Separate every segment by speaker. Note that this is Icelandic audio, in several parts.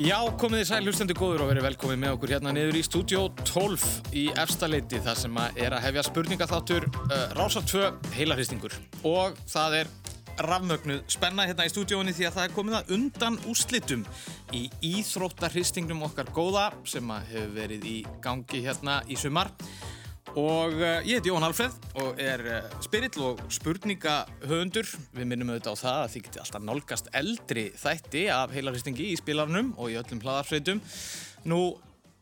Speaker 1: Já, komið þið sæl hlustendur góður og verið velkomið með okkur hérna niður í Studio 12 í efstaleiti þar sem að er að hefja spurningaþáttur uh, Rása 2 heilafristingur og það er rafmögnuð spenna hérna í stúdíóinni því að það er komið að undan úslitum í íþróttarhristingnum okkar góða sem að hefur verið í gangi hérna í sumar og uh, ég heiti Jón Alfreð og er uh, spirill og spurningahöfundur við minnum auðvitað á það að þið geti alltaf nálgast eldri þætti af heilarhristingi í spilarnum og í öllum hlaðarsveitum nú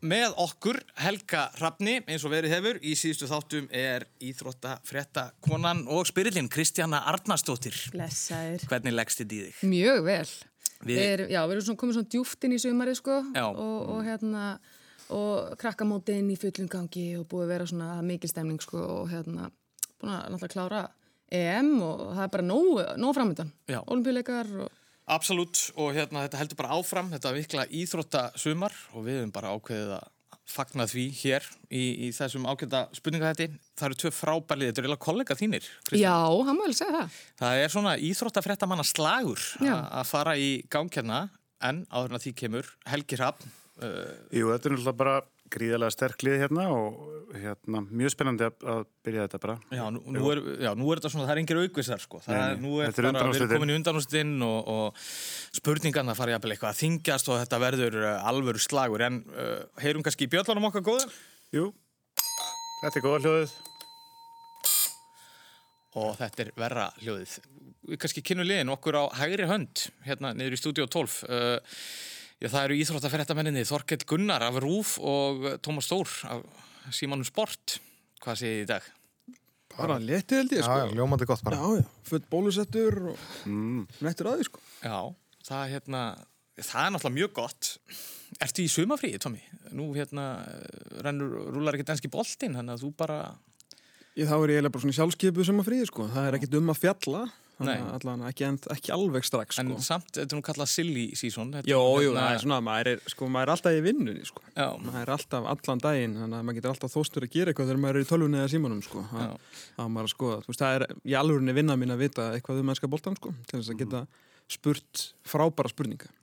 Speaker 1: með okkur Helga Hrafni eins og verið hefur í síðustu þáttum er íþrótta frétta konan og spirillin Kristjana Arnarsdóttir
Speaker 2: Blessaðir.
Speaker 1: hvernig leggst þið í þig?
Speaker 2: Mjög vel.
Speaker 1: Við-
Speaker 2: Við erum, já, við erum svona komið svona djúft inn í sumari sko
Speaker 1: Já.
Speaker 2: og, og hérna og krakkamóti inn í fullum gangi og búið að vera svona mikil stemning sko og hérna búin að náttúrulega klára EM og það er bara nóg, nóg framöndan.
Speaker 1: Já.
Speaker 2: Olimpíuleikar og
Speaker 1: Absolutt og hérna þetta heldur bara áfram þetta vikla íþrótta sumar og við höfum bara ákveðið að fagna því hér í, í þessum ákveðda spurningahætti. Það eru tvö frábælið, þetta eru eiginlega kollega þínir. Kristín.
Speaker 2: Já, hann má vel segja það.
Speaker 1: Það er svona íþróttafréttamanna slagur
Speaker 2: Já.
Speaker 1: að fara í gangjarna en áður en að því kemur Helgi Hrafn. Uh,
Speaker 3: Jú, þetta er náttúrulega bara gríðarlega sterk lið hérna og hérna, mjög spennandi að, að byrja þetta bara.
Speaker 1: já, nú, nú er, já, nú er þetta svona, það er engir aukvisar sko. Það
Speaker 3: Nei,
Speaker 1: er,
Speaker 3: nei,
Speaker 1: nú er
Speaker 3: þetta
Speaker 1: bara
Speaker 3: eru
Speaker 1: að vera
Speaker 3: undanúrslitin.
Speaker 1: komin í undanústinn og, og spurningarna fara jafnvel eitthvað að þingjast og þetta verður uh, alvöru slagur. En uh, heyrum kannski í bjöllanum okkar góður?
Speaker 3: Jú, þetta er góða hljóðið.
Speaker 1: og þetta er verra hljóðið. Við kannski kynnu liðin okkur á hægri hönd hérna niður í stúdíu 12. Uh, já, það eru íþróttafrættamenninni Þorkell Gunnar af Rúf og eh, Tómas Stór af Símanum Sport. Hvað segið þið í dag?
Speaker 4: bara leti held ég
Speaker 5: Já,
Speaker 4: sko
Speaker 5: já, ljómandi gott bara.
Speaker 4: já, já, full bólusettur og nettur að því sko
Speaker 1: Já, það er hérna, það er náttúrulega mjög gott. Ertu í sumafríi, Tómi? Nú hérna eh, rennur, rúlar ekki danski boltinn, þannig að þú bara...
Speaker 4: ég þá er ég eiginlega bara svona sjálfskeipu sem að fríði sko það er ekkit um að fjalla þannig
Speaker 1: Nei.
Speaker 4: að allan ekki, en, ekki alveg strax
Speaker 1: En
Speaker 4: sko
Speaker 1: samt, þetta er nú kallað silly season. Þetta er
Speaker 4: Jó, jú,
Speaker 1: hérna-
Speaker 4: það er svona, maður er, sko, maður er alltaf í vinnunni sko.
Speaker 1: Já.
Speaker 4: maður er alltaf allan daginn þannig að maður getur alltaf þóstur að gera eitthvað þegar maður er í tölvunni eða símanum sko. Þa, að maður, sko, þú veist, það er í alvörinni vinna mín að vita eitthvað um mennska boltan sko, til þess að geta spurt frábæra spurninga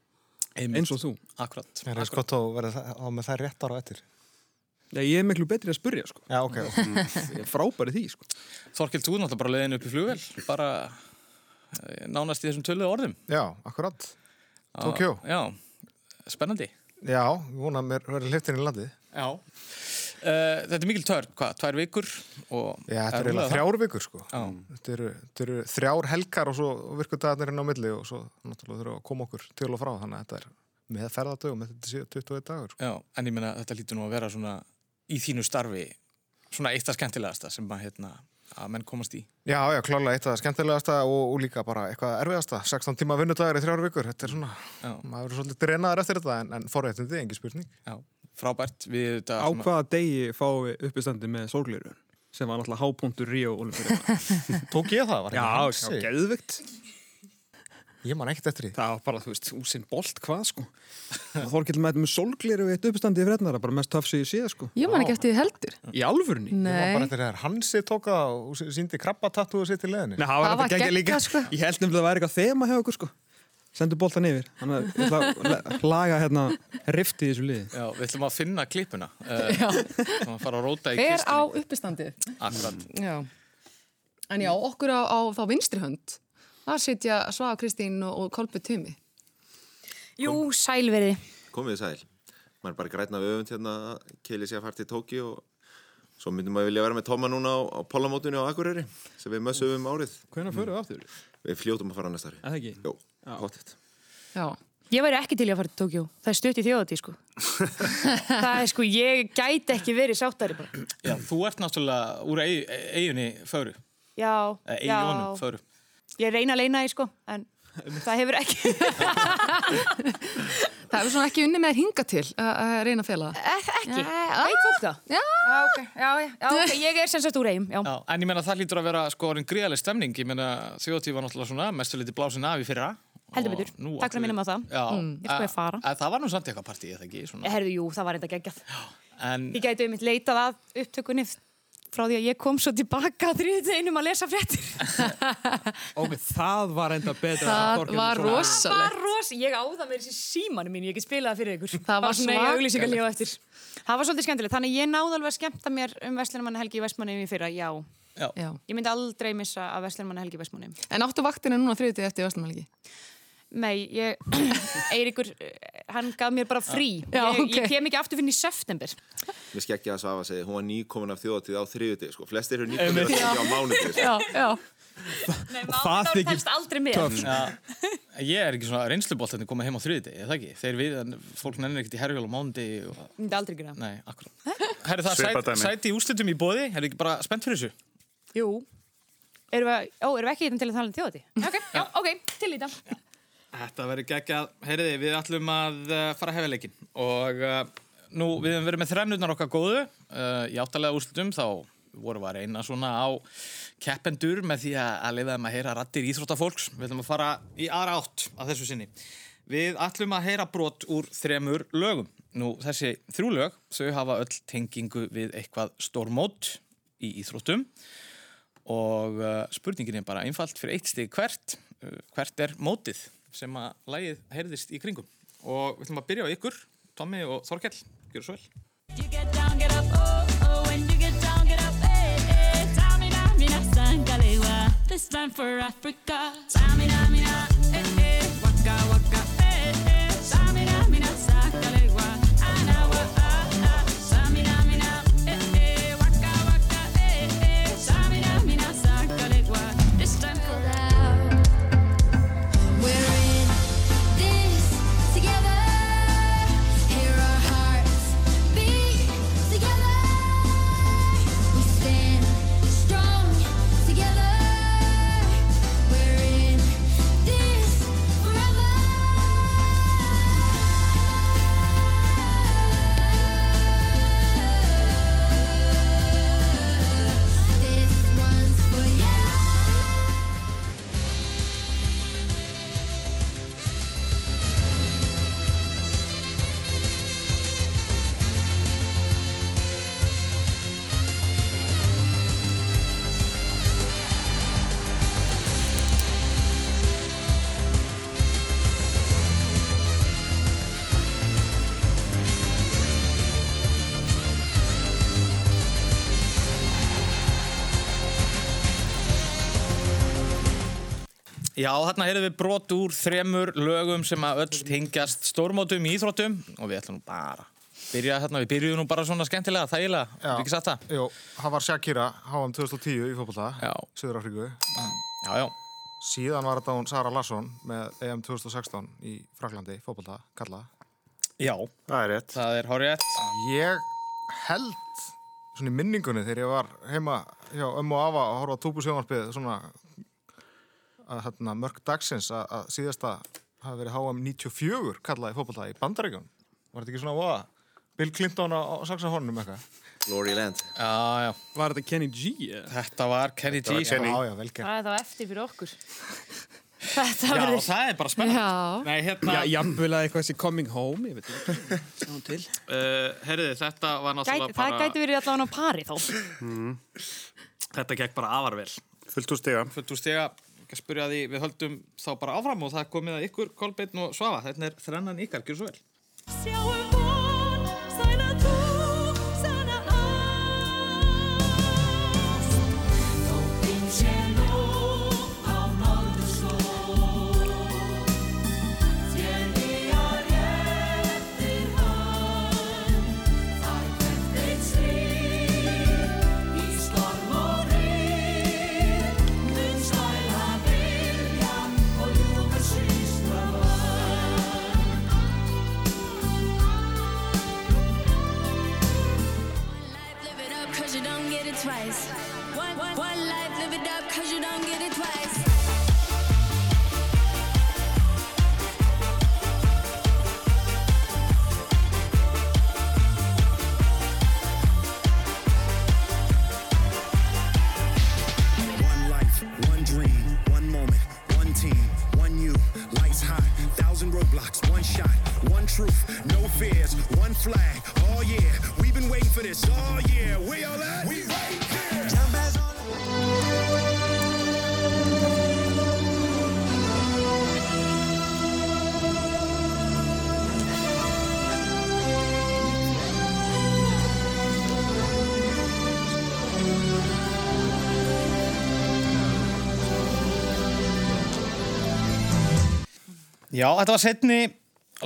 Speaker 1: Einmitt.
Speaker 4: eins og þú
Speaker 1: Akkurat.
Speaker 5: Mér er eins gott að vera það- á með það rétt ára eftir.
Speaker 4: Já, ég er miklu betri að spurja sko.
Speaker 5: Já, ok.
Speaker 4: Ég er frábæri því sko.
Speaker 1: Þorkild, þú er náttúrulega bara leiðin upp í flugvel, bara eh, nánast í þessum töluðu orðum.
Speaker 5: Já, akkurat. Tókjó.
Speaker 1: Já, spennandi.
Speaker 5: Já, ég vona að mér verður hliftin í landið.
Speaker 1: Já. Eh, þetta er mikil törn, hvað, tvær vikur og...
Speaker 5: Já, þetta eru
Speaker 1: rúllað
Speaker 5: eiginlega þrjár vikur sko.
Speaker 1: Já.
Speaker 5: Þetta eru, þetta eru þrjár helgar og svo virku dagarnir inn á milli og svo náttúrulega þurfum við að koma okkur til og frá. Þannig að þetta er með ferðardögum, þetta séu 21 dagur sko.
Speaker 1: Já, en ég meina þetta lítur nú að vera svona í þínu starfi, svona eitt af skemmtilegasta sem að, hérna, að menn komast í.
Speaker 5: Já, já, klálega eitt af það skemmtilegasta og, og líka bara eitthvað erfiðasta. 16 tíma vinnudagur í þrjár vikur, þetta er svona,
Speaker 1: Já.
Speaker 5: maður er svolítið drenaður eftir þetta en, en forréttindi, engin spurning.
Speaker 1: Já, frábært, við þetta...
Speaker 4: Á hvaða degi fáum við uppistandi með sólgleiru sem var náttúrulega hápunktur Ríó Olimpíuleikana.
Speaker 5: Tók ég það?
Speaker 4: Já,
Speaker 5: Var ekki
Speaker 4: já,
Speaker 5: hansi?
Speaker 4: geðveikt.
Speaker 5: Ég man ekkert eftir því.
Speaker 4: Það var bara, þú veist, úsinn bolt hvað sko. Og Þorkill með þetta með sólgleiru og eitt uppistandi í frednara, bara mest töff sem ég séð sko.
Speaker 2: Ég man ekki eftir því heldur.
Speaker 4: Í alvörunni?
Speaker 5: Ég var bara
Speaker 2: Nei.
Speaker 5: eftir þegar Hansi tók það og síndi krabbatatúðu sitt í leðinu.
Speaker 4: það
Speaker 2: Það var
Speaker 4: þetta geggjað
Speaker 2: geggjað, sko.
Speaker 4: Ég held nefnilega að það væri eitthvað þema hjá okkur sko. Sendu boltan yfir. Þannig að ég ætla að la- laga hérna riftið í þessu liði.
Speaker 1: Já, við ætlum að finna klippuna. Uh, sem að fara að róta í
Speaker 2: Hver á
Speaker 1: kistunni.
Speaker 2: uppistandið?
Speaker 1: Akkurat.
Speaker 2: Já. En já, okkur á, á þá vinstri hönd, þar sitja Svaga Kristín og, og Kolbjörn Tumi.
Speaker 6: Jú, sælveri.
Speaker 7: komið þið sæl maður er bara grætna við öfund hérna að keili sér að fara til Tóki og svo myndum maður vilja vera með Tóma núna á, á polamótunni á Akureyri sem við mössum um árið
Speaker 4: Hvernig fyrir við aftur?
Speaker 7: við fljótum að fara næsta ári
Speaker 4: Er það ekki?
Speaker 7: Jó, pottitt
Speaker 2: Já.
Speaker 6: Ég væri ekki til í að fara til Tókjó. Það er stutt í þjóðatí, sko. það er sko, ég gæti ekki verið sáttari bara.
Speaker 1: Já, þú ert náttúrulega úr eig- eiginni föru,
Speaker 6: Já,
Speaker 1: eh,
Speaker 6: já.
Speaker 1: eiginjónum föru.
Speaker 6: Ég reyna að leina því, sko, en það hefur ekki,
Speaker 2: Það hefur svona ekki unni með þér hinga til að að reyna að fela það.
Speaker 6: ekki. Veit fólk það?
Speaker 2: Já.
Speaker 6: Já, ok, já, já, já, ok, ég er sem sagt úr eigum, já.
Speaker 1: Já, en ég menna það lítur að vera sko orðin gríðaleg stemning, ég menna þjóðtíð var náttúrulega svona mestu liti blásin af í fyrra Og
Speaker 6: Heldur betur.
Speaker 1: nú
Speaker 6: Takk fyrir
Speaker 1: ætlum
Speaker 6: að minna mig á það.
Speaker 1: Já,
Speaker 6: Mm, ég skal
Speaker 1: en-
Speaker 6: ég fara. Eh,
Speaker 1: en Það var nú samt eitthvað partí, eða ekki? Svona.
Speaker 6: Herðu, jú, það var enda geggjað.
Speaker 1: En
Speaker 6: Ég gæti um mitt leitað að upptökunni frá því að ég kom svo tilbaka á þriðdeginum að lesa fréttir.
Speaker 4: Ok, það var enda betra.
Speaker 2: Það
Speaker 4: Þorgerður
Speaker 2: var
Speaker 4: svona-
Speaker 2: rosa.
Speaker 6: Það var ros, ég áða mér þessi símanu mín, ég get spilað það fyrir ykkur.
Speaker 2: Það var
Speaker 6: Bara svona í
Speaker 2: svakalegt.
Speaker 6: auglýsingalíu á eftir. Það var svolítið skemmtilegt, þannig að ég náði alveg að skemmta mér um Vestlunumann Helgi Vestmannum í fyrra, já.
Speaker 2: Já.
Speaker 6: Ég myndi aldrei missa af Vestlunumann Helgi Vestmannum.
Speaker 2: En áttu vaktina núna þriðið eftir Vestlumalgi?
Speaker 6: Nei, ég, Eiríkur, eh, hann gaf mér bara frí.
Speaker 2: Já,
Speaker 6: ég,
Speaker 2: ok.
Speaker 6: ég kem ekki aftur fyrir í september.
Speaker 7: Mér skekkja að Svafa segi, hún var nýkomin af þjóðatíð á þriðutíð, sko. Flestir eru nýkomin af þjóðatíð á mánutíð, sko.
Speaker 2: Já, já.
Speaker 6: Nei,
Speaker 4: það
Speaker 6: mánudagur
Speaker 4: þykir
Speaker 6: telst aldrei með.
Speaker 1: Ég er ekki svona reynslubolt að koma heim á þriðdegi, er það ekki? Þeir við, en fólk nennir ekkert í herjál á mándegi og...
Speaker 6: Ég myndi aldrei gera það.
Speaker 1: Nei, akkurat. Herri, það
Speaker 3: Svipað
Speaker 1: sæti,
Speaker 3: dæmi.
Speaker 1: sæti í úslitum í bóði, er ekki bara spennt fyrir þessu?
Speaker 6: Jú. Erum við, ó, erum við ekki hérna til að tala um þjóðati? Ok, já, ok, til í dag.
Speaker 1: Þetta verður geggjað, heyriði, við ætlum að uh, fara að hefja leikinn og uh, nú við hefum verið með þrennurnar okkar góðu uh, í áttalega úrslutum þá vorum við að reyna svona á keppendur með því að, að leiða þeim að heyra rattir íþróttafólks, við ætlum að fara í aðra átt að þessu sinni. Við ætlum að heyra brot úr þremur lögum. Nú þessi þrjú lög, þau hafa öll tengingu við eitthvað stórmót í íþróttum og uh, spurningin er bara einfalt fyrir eitt stig hvert uh, hvert er mótið sem að lægið heyrðist í kringum og við ætlum að byrja á ykkur, Tommi og Þorkell gjör svo vel
Speaker 8: You get down, get up, oh, oh, when you get down, get up, eh, eh. Tamina, mina, sangalewa, this time for Africa. Tamina, mina, eh, eh, waka, waka, eh, eh. Tamina, mina, sangalewa, anawa, ah, ah. Tamina, mina, eh, eh, waka, waka, eh, eh. Tamina, mina, sangalewa, this time for We're in this together. Hear our hearts beat together. We stand strong together. We're in this forever. This one's for you.
Speaker 1: Já, þarna heyrðum við brot úr þremur lögum sem að öll tengjast stórmótum í íþróttum og við ætlum nú bara að byrja þarna, við byrjuðum nú bara svona skemmtilega, þægilega,
Speaker 5: Já.
Speaker 1: við ekki satt það
Speaker 5: Jó, það var Shakira, HM 2010 í fótbolta,
Speaker 1: Já.
Speaker 5: Suður Afríku.
Speaker 1: Já, já,
Speaker 5: Síðan var þetta hún Sara Larsson með E EM 2016 í Fraklandi, fótbolta, kalla.
Speaker 1: já,
Speaker 3: Það er rétt.
Speaker 1: það er hárið
Speaker 5: Ég held svona í minningunni þegar ég var heima hjá ömmu og afa að horfa á túbusjónvarpið svona að hérna, mörg dagsins að, að síðasta hafi verið HM 94 kallaði fótbolta í bandaríkjum. Var þetta ekki svona voða? Bill Clinton á, á saxahornum eitthvað?
Speaker 7: sko. Glory Land.
Speaker 1: Já, já,
Speaker 4: Var þetta Kenny G? eða?
Speaker 1: þetta var Kenny G sko.
Speaker 5: Já, já, vel gert.
Speaker 6: Það er þá eftir fyrir okkur. Þetta
Speaker 1: Já,
Speaker 6: verður...
Speaker 1: það er bara spennandi
Speaker 2: Já.
Speaker 1: Nei, hérna,
Speaker 4: Já, jafnvel að eitthvað sé coming home, ég veit ekki. Sjáum til.
Speaker 1: uh, heyrðu, þetta var
Speaker 6: Gæti,
Speaker 1: náttúrulega
Speaker 6: Það
Speaker 1: bara
Speaker 6: gæti verið allavega á pari þá.
Speaker 1: Þetta gekk bara afar vel
Speaker 3: Fullt úr stiga.
Speaker 1: fullt úr stiga ekki að spyrja því við höldum þá bara áfram og það er komið að ykkur Kolbeinn og Svafa þetta er þrennan ykkar, gjör svo vel
Speaker 8: Sjáum von, sæna þú, sæna ást. Nóttin sé nú á norðurslóð. Þér réttir hönd. Þær hvert þitt stríð í storm og rign. Mun sæla viljann og ljúfur síðsta vörn. life, live it up, cause you don't get it twice. One, one, one life, live it up, cause you don't get it twice.
Speaker 9: One life, one dream, one moment, one team, one you. Lights hot, thousand roadblocks, one shot, one truth, no fears, one flag. Oh yeah, we've been waiting for this all year. We all at? We right here.
Speaker 1: Já, þetta var setni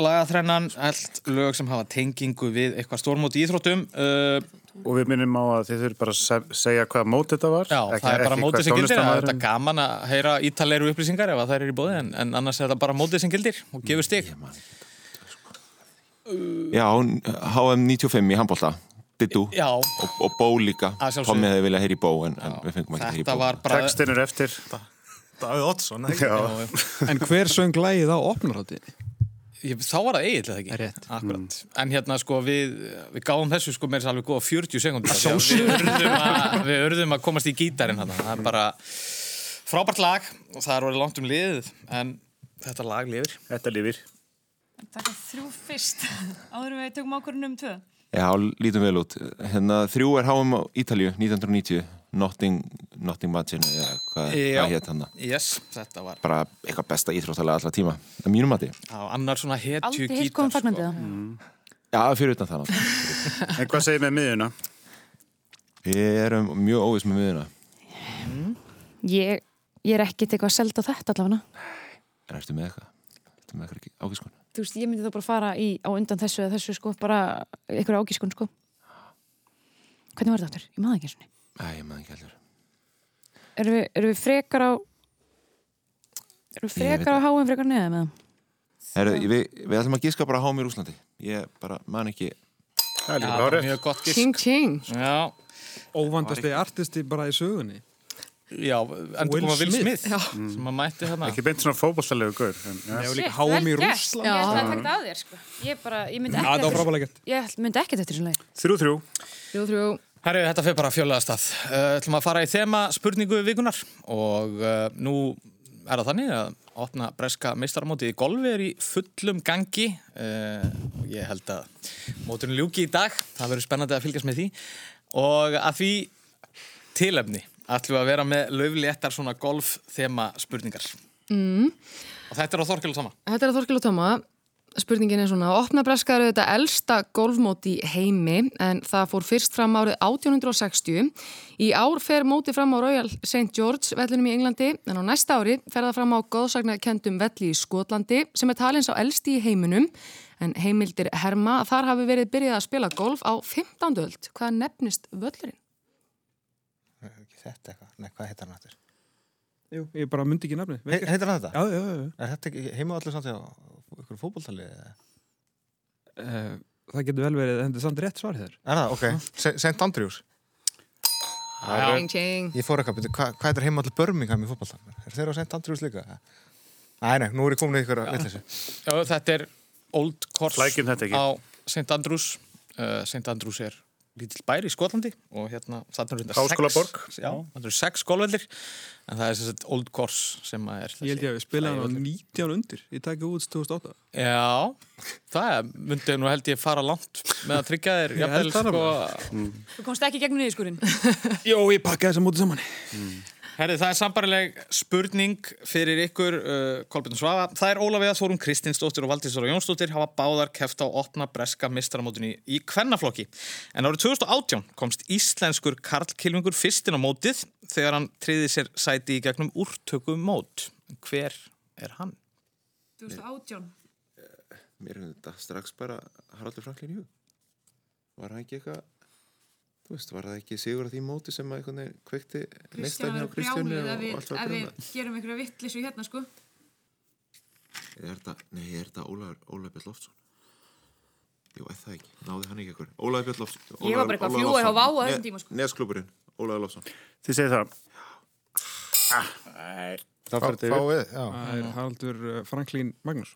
Speaker 1: lagaþrennan, allt lög sem hafa tengingu við eitthvað stórmót í íþróttum uh,
Speaker 3: Og við minnum á að þið þurfum bara að se- segja hvaða mót þetta var.
Speaker 1: Já,
Speaker 3: Ekki-
Speaker 1: það er bara
Speaker 3: ekki
Speaker 1: mótið
Speaker 3: hver
Speaker 1: sem gildir það er
Speaker 3: tónlistarmaðurinn-
Speaker 1: þetta gaman að heyra ítalegru upplýsingar ef að það er í bóði en, en annars er þetta bara mótið sem gildir og gefur stig
Speaker 7: Já, HM 95 í handbólta Dittu
Speaker 1: Já,
Speaker 7: og, og Bó líka
Speaker 1: Að sjálfsögðu.
Speaker 7: Tommi hefði viljað heyri Bó en, en við fengum ekki að heyri Bó
Speaker 1: þetta var bara
Speaker 3: Textin er eftir.
Speaker 5: Davíð Oddsson, ekki?
Speaker 3: Já.
Speaker 4: En hver söng lægið á opnarháttinni?
Speaker 1: Ég, þá var það eiginlega ekki
Speaker 4: Rétt.
Speaker 1: Akkurat. en hérna sko við við gáum þessu sko með þess alveg góða 40 sekundur við urðum, að, við urðum að komast í gítarinn þarna. það er bara frábært lag og það er orðið langt um liðið en þetta lag lifir
Speaker 3: Þetta lifir.
Speaker 8: Takk þrjú fyrst áður en við tökum ákvörðunum um tvö
Speaker 7: Já, lítum vel út Hérna, þrjú er HM á Ítalju 1990 Notting, Notting Magin eða hvað
Speaker 1: Já.
Speaker 7: hva hétt hann
Speaker 1: yes, þetta var
Speaker 7: bara eitthvað besta íþróttalega allra tíma að mínum mati
Speaker 1: á annar svona hetju
Speaker 6: Aldrei hitt
Speaker 1: gítar
Speaker 6: komum
Speaker 1: sko.
Speaker 6: fagnandi það.
Speaker 7: Já, fyrir utan það náttúrulega.
Speaker 3: En hvað segir með miðjuna?
Speaker 7: Við erum mjög óviss með miðuna
Speaker 6: Ég, ég er ekkit eitthvað seld á þetta allavega.
Speaker 7: En ertu með eitthvað? Ertu með eitthvað ekki ágiskun?
Speaker 6: Þú veist, ég myndi þá bara fara í, á undan þessu eða þessu sko, bara einhverja ágískun sko. Hvernig var þetta áttur? Ég maður ekki eins og niður.
Speaker 7: Æ, ég maður ekki heldur
Speaker 6: Erum við, erum við frekar á erum við
Speaker 7: Ég veit
Speaker 6: frekar á háum frekar neða með það?
Speaker 7: Heru, við, við ætlum að gíska bara á HM í Rúslandi Ég bara man ekki
Speaker 3: Það er
Speaker 1: Já,
Speaker 3: líka
Speaker 1: það var
Speaker 3: hárið.
Speaker 1: mjög gott gísk
Speaker 2: Tjing, tjing.
Speaker 1: já,
Speaker 4: Óvandasti artisti bara í sögunni
Speaker 1: já, endur
Speaker 4: Will
Speaker 1: koma Will
Speaker 4: Smith.
Speaker 1: Smith sem að mætti þarna
Speaker 3: Ekki beint svona fótballtalegu gaur. en- Já.
Speaker 4: Hefur líka háum í Rúsland
Speaker 6: Ég ætlaði að taka það að þér sko. Ég, bara, ég myndi
Speaker 4: Það var
Speaker 6: ekki eftir,
Speaker 4: frábælega gert
Speaker 6: ég myndi ekki eftir svona leið.
Speaker 3: Þrjú, þrjú.
Speaker 2: Þrjú, þrjú.
Speaker 1: Herru, þetta fyrir bara fjölaða stað. Þú ætlum að fara í þema spurningu vikunar og uh, nú er það þannig að opna breska meistarmótið í golfi er í fullum gangi uh, og ég held að móturinn ljúki í dag, það verður spennandi að fylgjast með því og að því tilefni ætlum við að vera með löfléttar svona golf þema spurningar. Mm. Og þetta er á Þorkel og Toma.
Speaker 2: Þetta er að Þorkil og Tóma. Spurningin er svona, opna breskar er þetta elsta golfmót í heimi en það fór fyrst fram árið 1860. Í ár fer móti fram á Royal St. George vellunum í Englandi en á næsta ári fer það fram á góðsagnakendum velli í Skotlandi sem er talin sá elsti í heiminum en heimildir Herma að þar hafi verið byrjað að spila golf á 15. öld. Hvað nefnist völlurinn?
Speaker 5: Ekki þetta eitthvað, nei, hvað heitar hann aftur?
Speaker 4: Jú, Ég bara myndi ekki nafni
Speaker 5: He- Heitar hann þetta?
Speaker 4: Já, já, já, já.
Speaker 5: Er þetta ekki heima allir samt hjá ykkur fótboltalið? eða?
Speaker 4: Eh, Það getur vel verið, þetta er samt rétt svar þér
Speaker 5: Er það, ok. Se- St. Andrews.
Speaker 2: Tjeng, tjeng.
Speaker 5: Ég fór eitthvað, byrju, hva- hvað heitar heima allir Birmingham í fótboltalið? Er þeirra á St. Andrews líka? Nei, nei, nú er ég komin í ykkur að vitlesu.
Speaker 1: Já, þetta er Old Course
Speaker 3: Flækjum þetta ekki.
Speaker 1: á St. Andrews uh, St. Andrews er lítill bær í Skotlandi og hérna þarna eru þetta
Speaker 3: Háskólaborg.
Speaker 1: sex, já, þarna eru sex golvellir en það er sem sagt Old Course sem að er
Speaker 4: Ég held ég að við spilaði hann á 19 undir Ég tæki út 2008
Speaker 1: Já, það er- myndi nú held ég fara langt með að tryggja þér
Speaker 4: Ég held
Speaker 1: jafnvel
Speaker 4: það
Speaker 1: sko
Speaker 6: Þú komst ekki gegnum niðurskurinn.
Speaker 4: Jó, ég pakkaði þess að móti saman
Speaker 1: Herri, það er sambarileg spurning fyrir ykkur, uh, Kolbjörn Svafa. Það er Ólafíða Þórum Kristinsdóttir og Valdísar og Jónsdóttir hafa báðar keft á opna breska mistaramótinu í kvennaflokki. En árið 2018 komst íslenskur Karl Kilvingur fyrstin á mótið þegar hann triði sér sæti í gegnum úrtökum mót. Hver er hann?
Speaker 8: 2018
Speaker 7: Mér hefði þetta strax bara Haraldur Franklin í hug Var hann ekki eitthvað Þú veist, var það ekki sigur að því móti sem að einhvern veginn kveikti
Speaker 8: Kristján
Speaker 7: neistan hjá
Speaker 8: er
Speaker 7: Kristjáni
Speaker 8: brjálið ef
Speaker 7: og
Speaker 8: við,
Speaker 7: allt var
Speaker 8: ef
Speaker 7: brjóna
Speaker 8: við gerum einhverja vittlisu hérna sko
Speaker 7: Er þetta, nei, er þetta Ólafur, Ólafur Björn Loftsson? Jú, eða það ekki, náði hann ekki ekkur Ólafur Björn Loftsson
Speaker 6: Ég var bara eitthvað að fljúga hjá Vá á þessum tíma, sko.
Speaker 7: Nesklúburinn, Ólafur Loftsson
Speaker 3: Þið segir það.
Speaker 1: Ah.
Speaker 5: Það
Speaker 3: farið
Speaker 5: fá við, já.
Speaker 4: Það er Haraldur eh, Franklín Magnús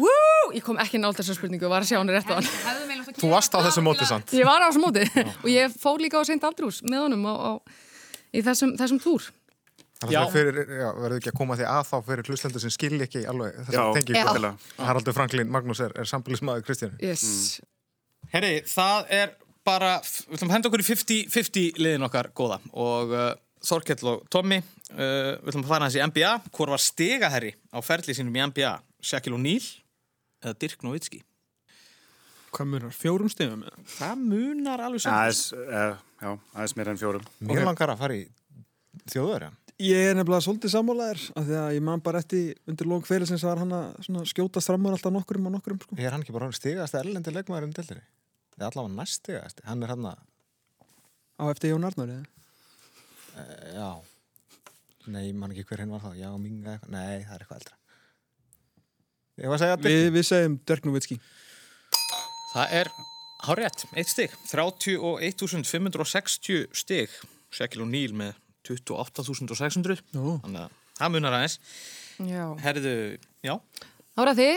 Speaker 2: Wú! Ég kom ekki nált þessar spurningu og var að sjá hann rétt á hann.
Speaker 8: Hefðum eiginlega átt að
Speaker 5: Þú
Speaker 8: gera
Speaker 5: varst á
Speaker 8: það
Speaker 5: þessu
Speaker 8: til
Speaker 5: móti
Speaker 8: að-
Speaker 5: samt.
Speaker 2: Ég var á þessu móti og ég fór líka á St. Andrews með honum á, á, í þessum, þessum túr.
Speaker 1: Já.
Speaker 5: Þannig að fyrir, já, verður ekki að koma því að þá fyrir hlustendur sem skilja ekki alveg þess
Speaker 3: Já.
Speaker 5: að tengi
Speaker 2: Já.
Speaker 5: Haraldur Franklin Magnús er, er sambilismæður Kristjánu.
Speaker 2: Yes.
Speaker 1: Herri, það er bara, við ætlum að henda okkur í 50-50 liðin okkar góða og uh, Þorkell og Tommy, uh, við ætlum að fara hans í NBA, hvor var stigaherri á ferli sínum í NBA, Shaquille O'Neal eða Dirk Nowitzki?
Speaker 4: Hvað munar, fjórum stegum með það?
Speaker 1: Það munar alveg saman.
Speaker 3: Aðeins, uh, já, aðeins eh, meira en fjórum.
Speaker 5: Mér langar að fara í þjóðverjan.
Speaker 4: Ég er nefnilega svolítið sammálaðir af því að ég man bara eftir undir lók félagsins var hann að svona skjótast framur alltaf nokkurum og nokkurum sko.
Speaker 5: Er hann ekki bara stigast erlendi leikmaður um deildinni? Það er allavega næst stigast. Hann er hann að,
Speaker 4: á eftir Jón Arnóri
Speaker 5: já, nei, ég man ekki hver hinn var þá. Já, minga eitthvað. Nei, það er eitthvað eldra. Ég var að segja að
Speaker 4: Vi, Við segjum Dirk Nowitzki
Speaker 1: Það er hárétt, eitt stig 31.560 stig Sekil og Níl með 28.600
Speaker 4: Nú.
Speaker 1: Þannig að það munar aðeins
Speaker 5: Mm.
Speaker 2: Já.
Speaker 1: Herðu, já,
Speaker 2: Ára því,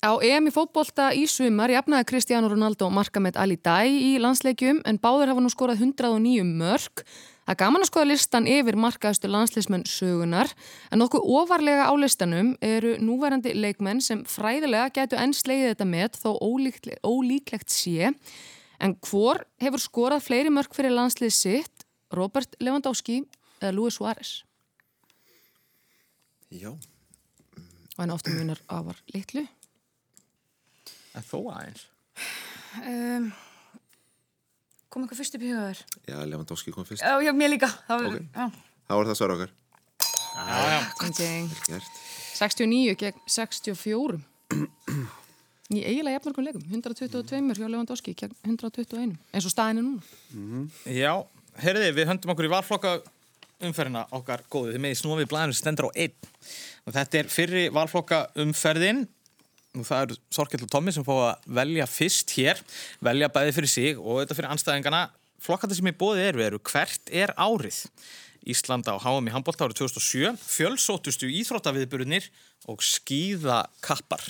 Speaker 2: á EM í fótbolta í sumar jafnaði Cristiano Ronaldo markamet Ali Dæ í landsleikjum en báður hafa nú skorað 109 mörg. Það er gaman að skoða listan yfir markaðustu landsleismenn sögunar en nokkuð ofarlega á listanum eru núverandi leikmenn sem fræðilega gætu enn slegið þetta met þó ólíkt, ólíklegt sé. En hvor hefur skorað fleiri mörg fyrir landslið sitt? Robert Lewandowski eða Luis Suárez?
Speaker 7: Já.
Speaker 2: Og hann ofta munar afar litlu.
Speaker 1: en þó aðeins
Speaker 6: um, Kom eitthvað fyrst upp í hugaður?
Speaker 7: Já, Lewandowski kom fyrst.
Speaker 6: Já, já, mér líka Það var,
Speaker 7: Ok.
Speaker 6: já,
Speaker 7: Það var það svar okkar.
Speaker 2: Ding, ding.
Speaker 7: Gert.
Speaker 2: 69 gegn 64 í eiginlega jafnmörgum leikum 122 mm. hjá Lewandowski gegn 121 eins og staðinu núna
Speaker 1: Já, herriði, við höndum okkur í valflokka umferðina okkar góðu. Þið meði snúa við blæðinu sem stendur á einn. Og þetta er fyrri valflokka umferðin. Og það eru Sorkell og Tommi sem fá að velja fyrst hér, velja bæði fyrir sig og þetta fyrir anstæðingana. Flokkandi sem í bóði eru, eru hvert er árið? Íslanda á HM í handbólta árið 2007, fjölsótustu íþróttaviðburunir og skíðakappar.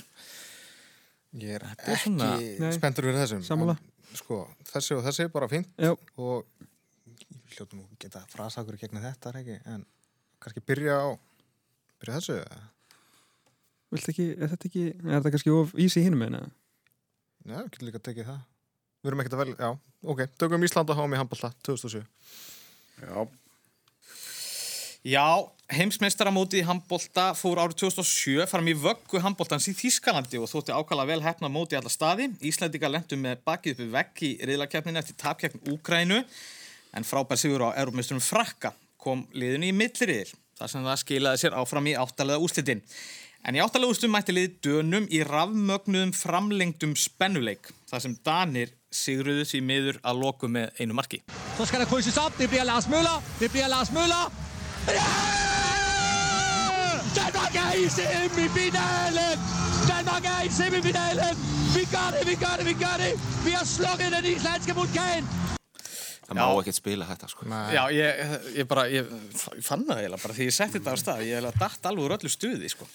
Speaker 5: ég er
Speaker 1: er svona-
Speaker 5: ekki spenntur fyrir þessum.
Speaker 4: Sammála.
Speaker 5: En, Sko, þessi og þessi er bara fínt
Speaker 4: Já,
Speaker 5: og ég hljótu nú að geta frasa okkur gegna þetta, er ekki? En kannski byrja á, byrja á þessu. eða?
Speaker 4: viltu ekki, er þetta ekki er þetta kannski of easy hinum meina?
Speaker 5: Já, við getum líka að tekið það. Við erum ekkert að velja, já, ok. Tökum Ísland að háa mig handbalta, 2007.
Speaker 3: Já,
Speaker 1: Já, heimsmeistaramótið í handbólta fór árið 2007 fram í vöggu handbóltans í Þýskalandi og þótti ákala vel hefna móti í alla staði. Íslandika lendu með bakið uppi vekk í reyðlakeppninu eftir tapkeppn Úkrænu en frábær sigur á Európmeisturum Frakka kom liðinu í millirir þar sem það skilaði sér áfram í áttalega úslitin. En í áttalega úslitin mætti liði dönum í rafmögnuðum framlengdum spennuleik þar sem Danir sigruðu því miður að loku með einu marki.
Speaker 10: Så skal der krydses op. Det bliver Lars Møller. Det bliver Lars Møller. Ja! Danmark er i semifinalen! Danmark er i semifinalen! Vi gør det, vi gør det, vi gør det! Vi har slukket den islandske vulkan!
Speaker 7: Það má ekkert spila þetta, sko.
Speaker 1: Já, ég, ég bara, ég f- fann það eiginlega bara því ég setti þetta á stað, ég eiginlega datt alveg úr öllu stuði, sko.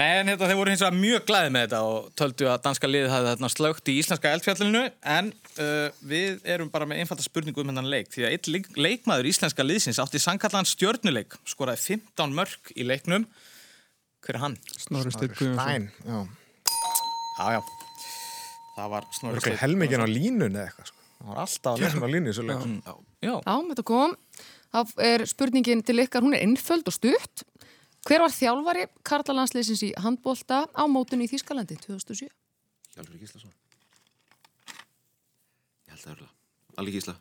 Speaker 1: Nei, en hérna, þeir voru hins vegar mjög glæði með þetta og töldu að danska liðið hafði þarna slögt í íslenska eldfjallinu, en uh, við erum bara með einfalda spurningu um hennan leik, því að eitt leik, leikmaður íslenska liðsins átti sankallan stjörnuleik, skoraði 15 mörg í leiknum. Hver er hann?
Speaker 4: Snorri Steinn Guðjónsson
Speaker 5: Næn, já.
Speaker 1: Já, já. Það var snorri
Speaker 5: Örglega helmingin á línun eða eitthvað, sko. Það var alltaf að lesa á línu, svo leikur.
Speaker 1: Já,
Speaker 2: Já, þetta kom þá er spurningin til ykkar, hún er einföld og stutt Hver var þjálfari Karlalandsleisins í handbólta á mótunni í Þýskalandi 2007?
Speaker 7: Hjalfur Gíslason. Ég held það örla. Alli Gísla.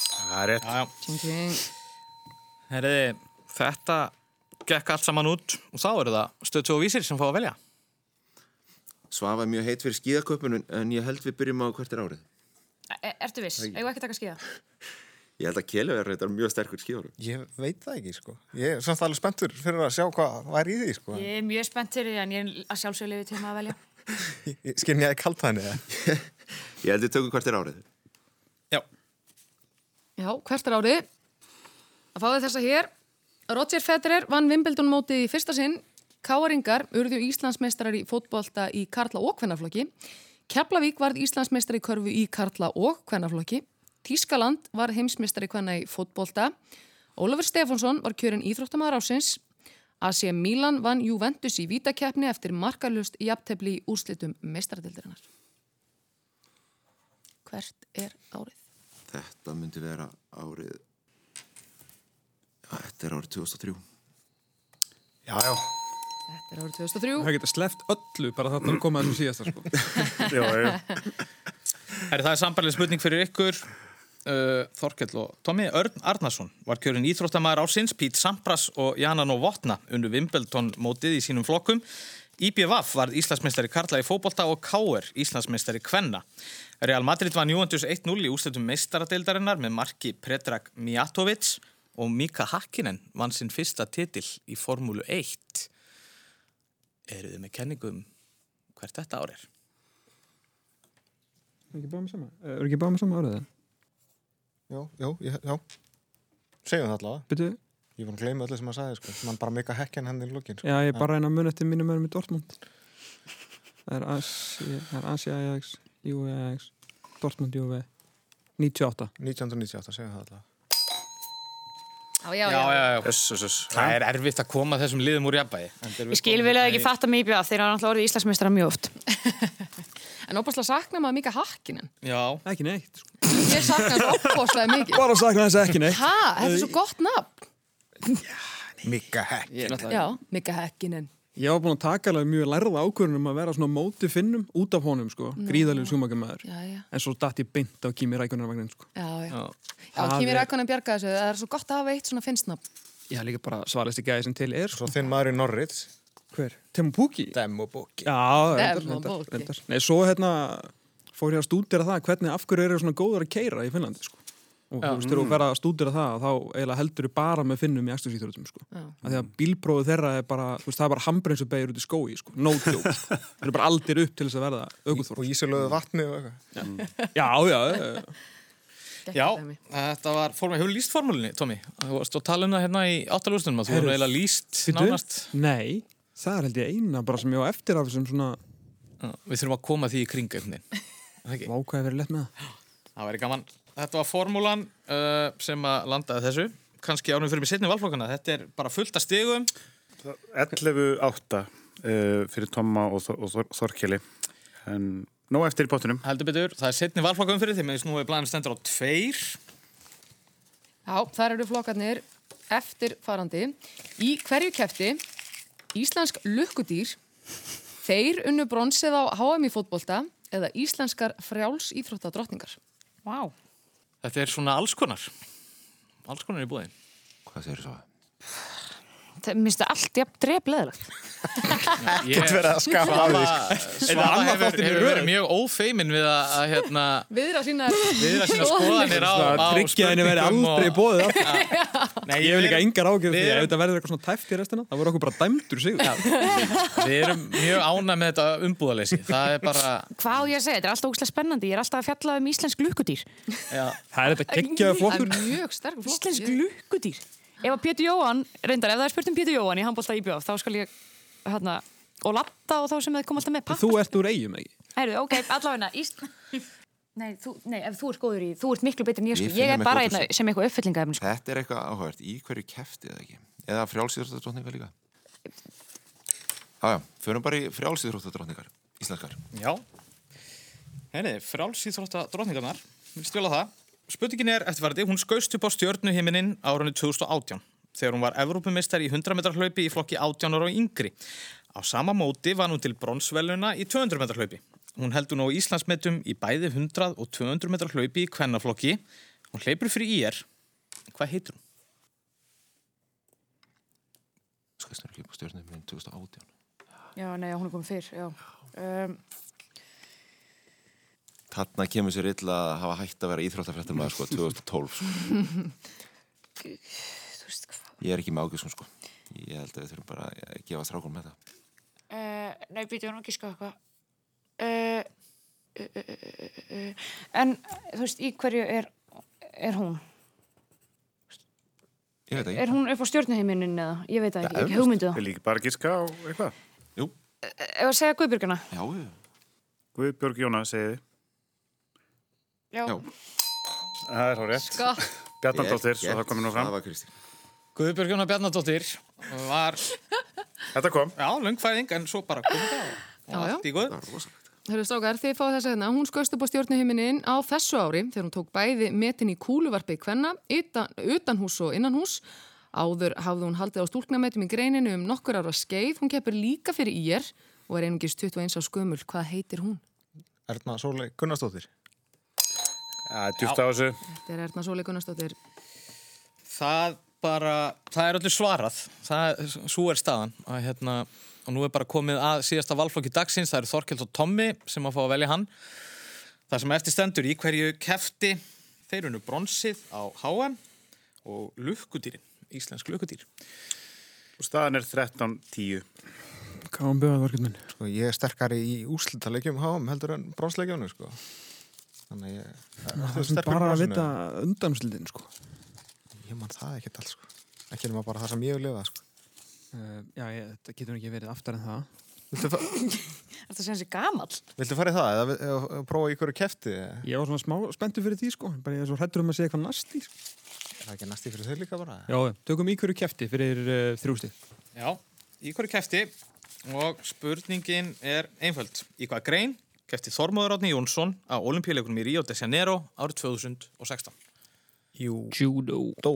Speaker 5: Það er rétt.
Speaker 1: já, já.
Speaker 2: Tjeng, tjeng.
Speaker 1: Herriði, þetta gekk allt saman út og þá eru það stöðtjóð og vísir sem fá að velja.
Speaker 7: Svafa er mjög heit fyrir skíðaköpunum en ég held við byrjum á hvert er árið.
Speaker 6: e Ertu viss? Eigum við ekki að taka skíða?
Speaker 7: Ég held að Kjellu er reyndar mjög sterkur skíðarum.
Speaker 5: Ég veit það ekki, sko. Ég er samt alveg spenntur fyrir að sjá hvað væri í því, sko.
Speaker 6: Ég er mjög spennt fyrir því en ég er að sjálfsögðu lifið tíma að velja
Speaker 5: Ég, ég skinn ég að kallt hann eða.
Speaker 7: Ég held við tökum hvert er árið.
Speaker 1: Já.
Speaker 2: Já, hvert er árið? Að fáðu þessa hér Roger Federer vann Wimbledon mótið í fyrsta sinn Káaringar urðu Íslandsmeistarar í fótbolta í Karla og Kvennaflokki Keflavík varð Íslandsmeistar í körfu í Karla og Kvennaflokki Tískaland var heimsmeistar í Kvenna í fótbolta Ólafur Stefánsson var kjörinn íþróttamaður ásins AC Milan vann Juventus í vítakeppni eftir markalust jafntefli í úrslitum meistaradildirinnar Hvert er árið?
Speaker 7: Þetta myndi vera árið... Já, þetta er árið 2003.
Speaker 5: Já, já.
Speaker 2: Þetta er árið 2003
Speaker 4: Það geta sleppt öllu bara þarna að koma þessum síðasta sko.
Speaker 3: já, já.
Speaker 1: Herri, það er sambarlega spurning fyrir ykkur. uh, Þorkell og Tommi Örn Arnason var kjörin íþróttamæður ásins Pít Sampras og Janan og Votna unnu Wimbledon mótið í sínum flokkum IBVF var Íslandsmeistari Karla í fótbolta og K.R. Íslandsmeistari Kvenna. Real Madrid var Juventus 1-0 í úsletum meistaradeildarinnar með marki Predrag Mijatovic og Mika Hakkinen vann sinn fyrsta titill í Formúlu 1. Eruð þið með kenningum hvert þetta ár er?
Speaker 4: Er ekki báðum sama? Er ekki báðum sama árið það?
Speaker 5: Jó, jó, ég- já Segjum það allavega
Speaker 4: Byrju,
Speaker 5: Ég var að gleyma öllu sem maður sagði, sko Man bara mika hekkin henni í lukkin, sko
Speaker 4: já, ég er bara að reyna að mun eftir mínum mönnum í Dortmund. Það er Asi, það er Asi Ajax, Juve Ajax, Dortmund Juve, 98.
Speaker 5: 1998, segjum það allavega
Speaker 1: Já, já, já.
Speaker 3: Yes, yes, yes.
Speaker 1: Það er erfitt að koma þessum liðum úr jafnbæði.
Speaker 6: Ég skil vel að ekki fatta mig í bjöð þegar hann alltaf orðið Íslandsmeistara mjög oft.
Speaker 2: En opaslega sakna maður mikið hakkinin.
Speaker 1: Já.
Speaker 4: Ekki neitt. sko.
Speaker 2: Ég sakna hans opaslega mikið.
Speaker 4: Bara að sakna þess ekki neitt.
Speaker 2: Hæ, þetta er svo gott nafn.
Speaker 5: Mika hekkin
Speaker 1: Ég er náttúrulega
Speaker 2: Já, mikið hakkinin.
Speaker 4: Ég var búin að taka alveg mjög lærða ákvörðunum að vera svona á móti finnum út af honum, sko. Gríðalegu sumakamæður.
Speaker 2: Já, já,
Speaker 4: En svo datt ég beint á Kimi Rækunarvagnin, sko.
Speaker 2: já, já.
Speaker 1: Já.
Speaker 2: Já,
Speaker 4: Það
Speaker 2: Kimi
Speaker 4: er-
Speaker 2: Rækonen bjarga þessu. Það er svo gott að hafa eitt svona finnsnafn.
Speaker 4: Ég haf líka bara svarlisti gæði sem til er, sko.
Speaker 5: Svo þinn maður í Norrits
Speaker 4: Hver? Temu Pukki?
Speaker 5: Demo bóki
Speaker 4: Já, reyndar,
Speaker 2: Demma
Speaker 4: reyndar,
Speaker 2: bóki.
Speaker 4: reyndar. Nei, svo hérna fór ég að stúdera það hvernig af hverju eru svona góður að keira í Finnlandi, sko. Og þú veist, þegar þú verða að stúdera það, þá eiginlega heldur þú bara með finnum í akstursýþjóðutum, sko.
Speaker 2: Já.
Speaker 4: Af því að bílprófið þeirra er bara, þú veist, það er bara hambreinsubegir út í skói, sko. No joke, sko. Það er bara aldir upp til þess að verða
Speaker 5: Og
Speaker 4: aukuþór.
Speaker 5: ísilöðu vatni og eitthvað
Speaker 4: Já, já, já, já.
Speaker 1: Já,
Speaker 2: dæmi.
Speaker 1: þetta var formule, hefur líst formúlinni, Tómi? Þú varst að tala um það hérna í áttalústunum að þú
Speaker 4: Heyrðu,
Speaker 1: hefur eiginlega líst
Speaker 4: Bíddu?
Speaker 1: nánast.
Speaker 4: Nei, það er held ég eina bara sem ég á eftir af þessum svona
Speaker 1: Já, Við þurfum að koma því í kring einhvern veginn. Er það ekki?
Speaker 4: vákvæði verið lett með það.
Speaker 1: Það væri gaman. Þetta var formúlan uh, sem að landaði þessu. Kanski ánum fyrir mig setni valflokkana. Þetta er bara fullt af stigum.
Speaker 3: 11.8 uh, fyrir Tomma og, Þor- og Þor Þorkeli en nóg eftir í pottunum
Speaker 1: Heldur betur, það er setni valflokkum fyrir því með þess nú er blæðin stendur á tveir.
Speaker 2: Já, þar eru flokkarnir eftirfarandi. Í hverju kefti Íslensk lukkudýr Þeir unnu bronsið á HM í fótbolta eða íslenskar frjáls íþróttadrottningar.
Speaker 6: Vá.
Speaker 1: Þetta er svona alls konar. Alls konar í búði.
Speaker 7: Hvað segir svo?
Speaker 6: Það minnst það allt jafn drefleðilegt.
Speaker 1: Get verið að skapa á því. Svava
Speaker 4: annað
Speaker 1: hefur,
Speaker 4: þáttinn í
Speaker 1: hefur
Speaker 4: röð.
Speaker 1: verið mjög ófeimin við að, að hérna,
Speaker 2: Viðra sína
Speaker 1: viðra sína skoðanir á, á
Speaker 4: Það tryggja henni verið aldrei í
Speaker 1: og-
Speaker 4: bóðið
Speaker 1: Nei,
Speaker 4: Ég hef
Speaker 1: við
Speaker 4: líka
Speaker 1: erum-
Speaker 4: engar ágjörð
Speaker 1: við
Speaker 4: því að
Speaker 1: erum-
Speaker 4: ef þetta verður eitthvað svona tæft í restina það voru okkur bara dæmdur sigur
Speaker 1: Við erum mjög ána með þetta umbúðaleysi. Það er bara,
Speaker 6: Hvað á ég að segja? Þetta er alltaf ógæslega spennandi. Ég er alltaf að fjalla um íslensk lukkudýr.
Speaker 1: já,
Speaker 4: Það er þetta geggjaði
Speaker 2: Það er
Speaker 4: flokkur
Speaker 2: mjög sterk flokkur.
Speaker 6: Íslensk
Speaker 2: Ég-
Speaker 6: lukkudýr. Ef að Pétur Jóhann, reyndar, ef það er spurt um Pétur Jóhann í handbólta íbjöð, þá skal ég, hérna, og latta og þá sem þið kom alltaf með pappa.
Speaker 4: Þú ert úr eigum ekki
Speaker 6: Herðu, ok, allavegna, Ísl... Nei, þú, nei, ef þú ert góður í, þú ert miklu betur en ég, sko.
Speaker 7: Við
Speaker 6: Ég
Speaker 7: finnum
Speaker 6: er bara einna
Speaker 7: eitthvað út úr
Speaker 6: sem eitthvað uppfyllingaefni, sko.
Speaker 7: Þetta er eitthvað áhugavert. Í hverju kefti það ekki? Eða frjálsýðróttadrótningar líka? Já, já, förum bara í frjálsýðróttadrótningar. Íslenskar.
Speaker 1: já. Henni, frálsýþrótta dróðningarnar, við stjóla það. Spurningin er eftirfærandi, hún skaust upp á stjörnuhiminin árunni 2018 þegar hún var Evrópumeistar í 100 metrar hlaupi í flokki 18 ára og yngri. Á sama móti var hún til bronsveluna í 200 metrar hlaupi. Hún heldur nú Íslandsmetum í bæði 100 og 200 metrar hlaupi í kvennaflokki. Hún hleypur fyrir IR. Hvað heitir hún?
Speaker 7: Skastur ekki upp á stjórnum minn 2018.
Speaker 6: Já, nei, hún er komið fyrr, já. Um,
Speaker 7: Þarna kemur sér illa að hafa hægt að vera íþróttafrættamæður sko 2012 sko.
Speaker 6: þú veist hvað...
Speaker 7: Ég er ekki með ágjörskum sko. Ég held að við þurfum bara að gefa strákunum með það.
Speaker 6: Uh, nei, býtu hann ekki sko eitthvað. Uh, uh, uh, uh, uh, en, þú veist, í hverju er, er hún?
Speaker 7: Ég veit
Speaker 6: Er
Speaker 7: ekki.
Speaker 6: hún upp á stjórnuheiminin eða? Ég veit það ekki,
Speaker 7: Ja,
Speaker 6: ekki hugmyndu það.
Speaker 3: Við líka bara að giska á eitthvað
Speaker 7: Jú,
Speaker 6: Ef að segja Guðbjörguna?
Speaker 7: já, já.
Speaker 3: Guðbjörg Jóna segiði
Speaker 6: Já.
Speaker 7: Já.
Speaker 3: Það er hórið
Speaker 2: Sko,
Speaker 3: Bjarnandóttir, svo það komið nú fram
Speaker 7: Það var Kristín.
Speaker 1: Guðbjörg Jónar Bjarnadóttir var,
Speaker 3: Þetta kom
Speaker 1: já, lungfæðing, en svo bara komið það og- og
Speaker 2: Já, já.
Speaker 1: allt í góð.
Speaker 7: Það var rosalegt.
Speaker 2: Hörru strákar, þið fáið þess að hérna, hún skauðst upp á stjórnuhiminin á þessu ári þegar hún tók bæði metin í kúluvarpi kvenna, utan, utan hús og innan hús. Áður hafði hún haldið á stúlknametum í greininu um nokkur ára skeið, hún keppur líka fyrir ír og er einungis 21 á skömmul. Hvað heitir hún?
Speaker 5: Erna Sólei Gunnarsdóttir
Speaker 3: Það er djúpt á þessu.
Speaker 2: Þetta er Erna Sóli Gunnarsdóttir.
Speaker 1: það bara, það er öllu svarað það, svo er staðan að, hérna, og nú er bara komið að síðasta valflokki dagsins, það eru Þorkild og Tommi sem að fá að velja hann það sem eftir stendur í hverju kefti þeir unnu bronsið á HM og lukkudýrin, íslensk lukkudýr
Speaker 3: Og staðan er 13-10.
Speaker 4: Káum bjóðað verkefnin.
Speaker 5: Sko, ég er sterkari í úslitaleikjum háum heldur en bronsleikjunum, sko. Þannig að ég...
Speaker 4: Það
Speaker 5: ertu
Speaker 4: er svona
Speaker 5: sterkur í
Speaker 4: bara að
Speaker 5: bronsinu?
Speaker 4: vita undanúrslitin, sko.
Speaker 5: Ég man það ekkert alls, sko. Ekki nema bara það sem ég hef lifað, sko.
Speaker 4: Uh, já, ég, þetta getur ekki verið aftar en það.
Speaker 5: Viltu, fa
Speaker 6: Þetta sé hans í gamall.
Speaker 5: Viltu fara í það? Eða, eða, eða prófa í hverju kefti? eða?
Speaker 4: Ég var svona smá spenntur fyrir því, sko. Bara ég er svo hrættur um að segja eitthvað næst í, sko.
Speaker 5: Er Það er ekki næst í fyrir þau líka bara.
Speaker 4: Já, tökum í hverju kefti fyrir uh, þrjústið.
Speaker 1: Já, í hverju kefti og spurningin er einföld. Í hvað grein kefti Þormóður Átni Jónsson á olimpíuleikunum í Rio de Janeiro árið 2016?
Speaker 5: Jú.
Speaker 4: Judo.
Speaker 5: Dó.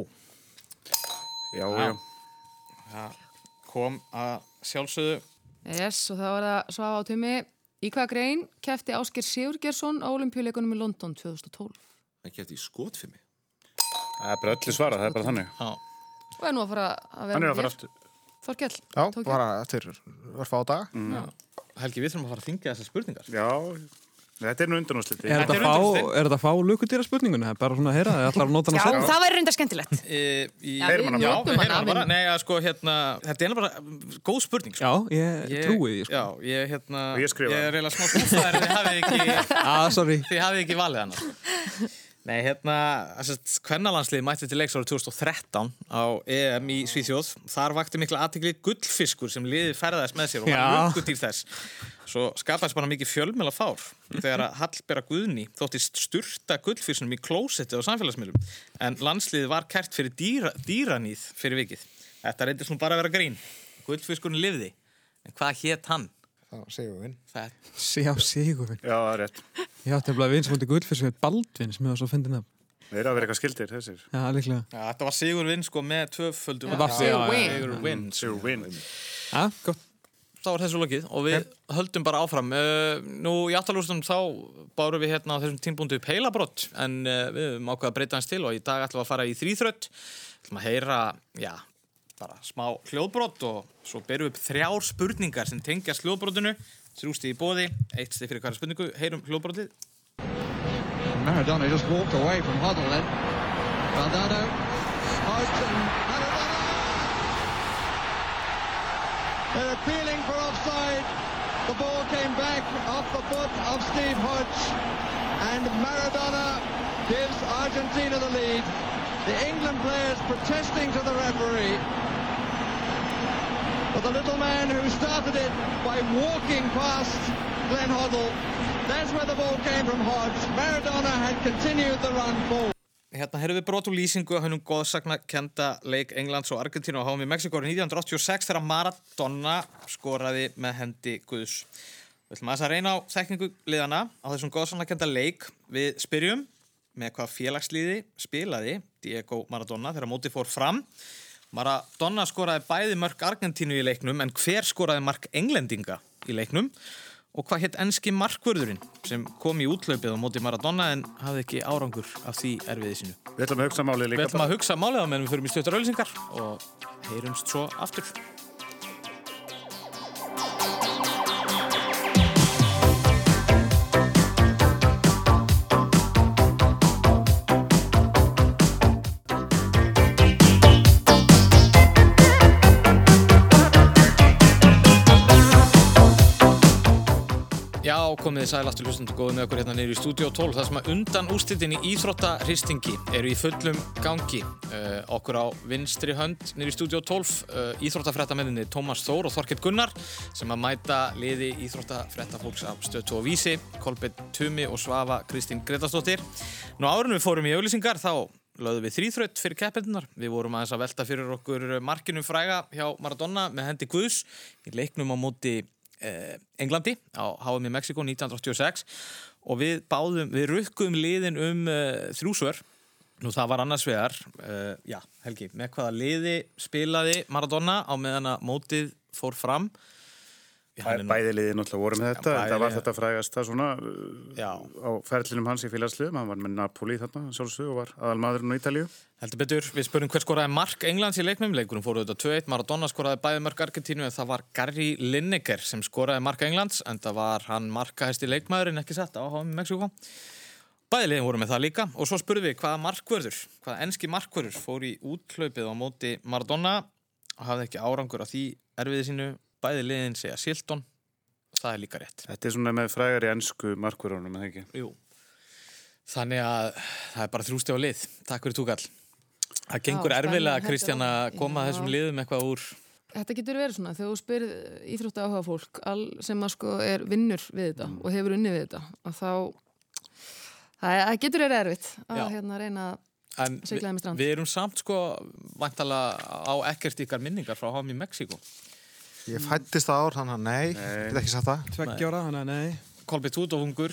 Speaker 3: Já,
Speaker 1: Já.
Speaker 3: já.
Speaker 1: Það kom að sjálfsögðu
Speaker 2: Yes, og þá var það svafa á tumi. Í hvað grein kefti Ásker Sigurgersson á olimpíuleikunum í London 2012?
Speaker 7: Það kefti í skotfimi.
Speaker 3: Það er bara öllu svarað, það er bara þannig.
Speaker 1: á.
Speaker 2: Og er nú að fara að vera
Speaker 3: Hann er að fara
Speaker 2: hér.
Speaker 3: aftur.
Speaker 2: Þorkell,
Speaker 5: Já,
Speaker 2: tók ég.
Speaker 5: bara eftir örfa á dag.
Speaker 1: Helgi, við þurfum að fara að þingja þessar spurningar.
Speaker 3: Já, þetta er nú undanúrsliti.
Speaker 4: Er
Speaker 1: Þetta
Speaker 4: þetta
Speaker 1: er
Speaker 4: að fá,
Speaker 1: undanúrslitin.
Speaker 4: er þetta að fá lukutýra spurninguna? Bara svona að heyra, það ætlar að nota
Speaker 6: Já,
Speaker 4: hana að
Speaker 6: það væri reynda skemmtilegt.
Speaker 1: E, í,
Speaker 2: Já, við
Speaker 3: hana bara.
Speaker 1: já,
Speaker 2: notum
Speaker 1: við heyrum hana
Speaker 2: hann af
Speaker 1: bara.
Speaker 2: henni.
Speaker 1: Nei, að sko, hérna, þetta er eiginlega bara góð spurning. Sko.
Speaker 4: Já, ég, trúi því, sko.
Speaker 1: Já, ég, hérna,
Speaker 3: Og ég skrifaði.
Speaker 1: Ég er eiginlega smá skúfaður, þið hafið ekki,
Speaker 4: Ah, sorry.
Speaker 1: þið hafið ekki valið hana. Sko. Nei, hérna, hvernalandslið mætti til leiks árið 2013 á EM í Svíþjóð. Þar vakti mikla aðtikli gullfiskur sem liði ferðaðist með sér og var
Speaker 4: Já.
Speaker 1: lukutýr þess. Svo skapaðist bara mikið fjölmjöla fár þegar að Hallbera Guðni þóttist sturta gullfiskunum í klósetti á samfélagsmiðlum. En landsliðið var kært fyrir dýra, dýranýð fyrir vikið. Þetta reyndist nú bara að vera grín. Gullfiskurinn lifði. En hvað hétt hann?
Speaker 5: Þá segjum við inn.
Speaker 1: Það,
Speaker 4: Já, Sigurvin.
Speaker 3: Já, það er rétt.
Speaker 4: Ég átti að blað vins mútið gullfis með Baldvin sem ég var svo fyndin af.
Speaker 3: Þeir eru að vera eitthvað skildir, þessir.
Speaker 4: Já, líklega.
Speaker 1: ja, þetta var Sigur Vinn sko með tvöföldu
Speaker 4: Var-
Speaker 1: marki.
Speaker 4: já, já, já.
Speaker 1: Sigur Vinn Mm.
Speaker 3: Sigur Win.
Speaker 4: Já, gott.
Speaker 1: þá var þessu lokið og við höldum bara áfram uh, nú í aftalúrstum þá bárum við hérna á þessum tímbúndu upp heilabrott en uh, við höfum ákveða að breyta hans til og í dag ætlum við að fara í þrýþrött ætlum að heyra, já, bara smá hljóðbrott og svo berum við upp þrjár spurningar sem tengjast hljóðbrottinu þrjústi í bóði, eitt stið fyrir hverja spurningu heyrum hljóðbrottið
Speaker 10: Maradona just walked away from Huddle then. Guardado. Open. Maradona! They're appealing for offside. The ball came back off the foot of Steve Hodge. And Maradona gives Argentina the lead. The England players protesting to the referee. But the little man who started it by walking past Glenn Hoddle, that's where the ball came from Hodge. Maradona had continued the run forward.
Speaker 1: Hérna heyrðum við brot úr lýsingu á hennum goðsakna kenda leik Englands og Argentínu á háum í Mexiko árið 1986 þegar Maradona skoraði með hendi Guðs. Við ætlum aðeins að reyna á þekkingu liðana á þessum goðsakna kenda leik. Við spyrjum með hvað félagsliði spilaði Diego Maradona þegar mótið fór fram. Maradona skoraði bæði mörg Argentínu í leiknum en hver skoraði mark Englendinga í leiknum? Og hvað hétt enski markvörðurinn sem kom í útlaupið á móti Maradona en hafði ekki árangur af því erfiði sinu?
Speaker 3: Við ætlum að hugsa málið
Speaker 1: Við
Speaker 3: líka.
Speaker 1: ætlum að hugsa málið á meðan við förum í stjórnar auðlýsingar og heyrumst svo aftur. Já, komið þið sæl aftur hlustundu góðið með okkur hérna niður í Studio 12 þar sem að undan úrslitin í Íþróttaristingi eru í fullum gangi uh, okkur á vinstri hönd niður í Studio 12 uh, Íþróttafrættamenninni Tómas Þór og Þorkett Gunnar sem að mæta liði Íþróttafrættafólks af Stöð 2 og Vísi Kolbett Tumi og Svava Kristín Gretastóttir Nú árunum við fórum í auglýsingar þá lögðum við þrýþraut fyrir keppindunar. Við vorum aðeins að velta fyrir okkur markinu fræga hjá Maradona með hendi Guðs í leiknum á móti eh, Englandi á HM í Mexiko 1986 og við báðum, við rukkum liðin um eh, þrjúsvör. Nú það var annars vegar, eh, já Helgi, með hvaða liði spilaði Maradona á meðan að mótið fór fram hann er nú-
Speaker 3: Bæði liðið náttúrulega voru með þetta,
Speaker 1: bæði
Speaker 3: en það var
Speaker 1: liðin.
Speaker 3: þetta frægasta svona uh,
Speaker 1: Já,
Speaker 3: á ferlinum hans í félagsliðum, hann var með Napoli þarna sjálfsög og var aðal maðurinn á Ítalíu.
Speaker 1: heldur betur. Við spurðum hver skoraði mark Englands í leiknum. Leikurum fóru þetta 2-1. Maradona skoraði bæði mörg Argentínu en það var Gary Lineker sem skoraði mark Englands en það var hann markahæsti leikmaðurinn ekki satt á HM Mexiko. Bæði liðin voru með það líka og svo spurðum við hvaða markvörður, hvaða enski markvörður fór í útlaupið á móti Maradona og hafði ekki árangur á því erfiði sínu. Bæði liðin segja Silton. Það er líka rétt.
Speaker 3: Þetta er svona með frægari ennsku markverðunum, eða ekki?
Speaker 1: Jú. Þannig að það er bara þrjústi á lið. Takk fyrir túkall. Það gengur
Speaker 2: Já,
Speaker 1: erfilega,
Speaker 2: spennandi.
Speaker 1: Kristján, að
Speaker 2: Þetta var-
Speaker 1: koma
Speaker 2: Já.
Speaker 1: þessum liðum eitthvað úr.
Speaker 2: Þetta getur verið svona, þegar þú spyrir íþrótti áhuga fólk, all sem að sko er vinnur við þetta og hefur unni við þetta og þá, það það getur verið erfitt að
Speaker 1: Já.
Speaker 2: hérna reyna að
Speaker 1: En vi,
Speaker 2: Siglaði með strand.
Speaker 1: við erum samt sko vantalega á ekkert ykkar minningar frá HM í Mexíko.
Speaker 5: Ég fættist það ár, þannig að nei, ég get ekki sagt það.
Speaker 4: Tveggja ára, þannig að nei.
Speaker 1: Kolbi Tútó hungur.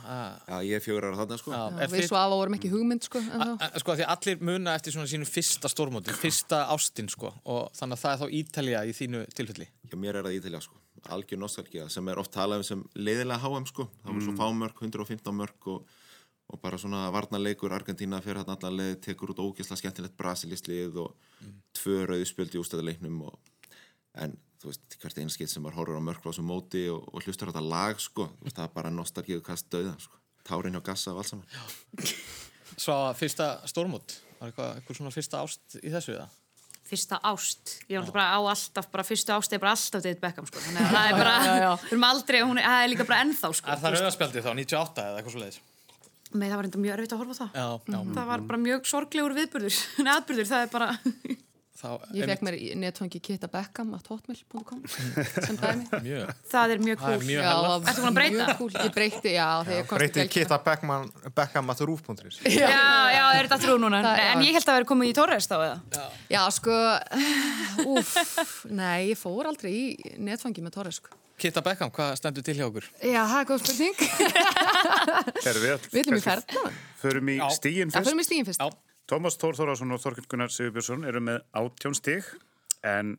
Speaker 1: Uh,
Speaker 7: Já, ég er fjögur ára þarna sko.
Speaker 1: uh,
Speaker 2: við svo aða vorum ekki hugmynd sko en þá.
Speaker 1: Sko því allir muna eftir svona sínu fyrsta stórmóti, fyrsta ástinn sko og þannig að það er þá Ítalija í þínu tilfelli.
Speaker 7: Já, mér er það Ítalja sko. Algjör nostalgía sem er oft talað um sem leiðilega HM sko. Það var svo fámörk, 115 mörk og, og bara svona varnarleikur Argentína fyrir hann allar leið, tekur út ógeðslega skemmtilegt brasilistlið og tvö rauðspjöld í ústæðuleiknum og en þú veist, hvert einskitt sem var horfur á mörk frá þessu móti og, og hlustur á þetta lag sko, þú veist, það er bara nostalgíu kast döða sko. Tárin hjá gassa af allt saman.
Speaker 1: Svo fyrsta stórmót, var eitthvað, eitthvað svona fyrsta ást í þessu eða?
Speaker 11: fyrsta ást ég var alltaf bara á alltaf, bara fyrstu ást er bara alltaf David Beckham sko, þannig að það er bara
Speaker 2: Já, já, já.
Speaker 11: við erum aldrei, hún er, það er líka bara ennþá sko,
Speaker 1: Er það rauðarspjaldið þá, 98 eða eitthvað svo leiðis?
Speaker 11: með það var enda mjög erfitt að horfa á það
Speaker 1: Já, já.
Speaker 11: það var bara mjög sorglegur viðburður en aðburður, það er bara
Speaker 1: Þá,
Speaker 2: Ég
Speaker 1: einmitt,
Speaker 2: fekk mér í netfangi kitabeckham at hotmail.com sem dæmi.
Speaker 1: mjög.
Speaker 11: það er mjög
Speaker 1: Það er
Speaker 11: cool
Speaker 1: mjög
Speaker 2: Já,
Speaker 1: hella.
Speaker 2: það var
Speaker 11: Ertu búin að breyta?
Speaker 2: mjög Cool. Ég breyti, já, þegar ég komst
Speaker 5: Breytið
Speaker 2: í
Speaker 5: Kitta Beckman, Beckham að rúf.is.
Speaker 11: já, já, er þetta trú núna
Speaker 2: Það- já.
Speaker 11: en ég held að það væri komið í Torres þá eða
Speaker 2: Já, sko, úff, nei, ég fór aldrei í netfangi með Torres, sko.
Speaker 1: Kitta Beckham, hvað stendur til hjá okkur?
Speaker 2: Já, það er góð spurning.
Speaker 3: Herra, við
Speaker 2: Við viljum í ferð.
Speaker 3: Förum í
Speaker 1: Já.
Speaker 3: stígin
Speaker 2: Það
Speaker 3: fyrst.
Speaker 2: fyrir mér stíðin fyrst.
Speaker 1: Já.
Speaker 3: Tómas Þór Þórðarsson og Þorkjörn Gunnar Sigurbjörnsson eru með átjón stíg en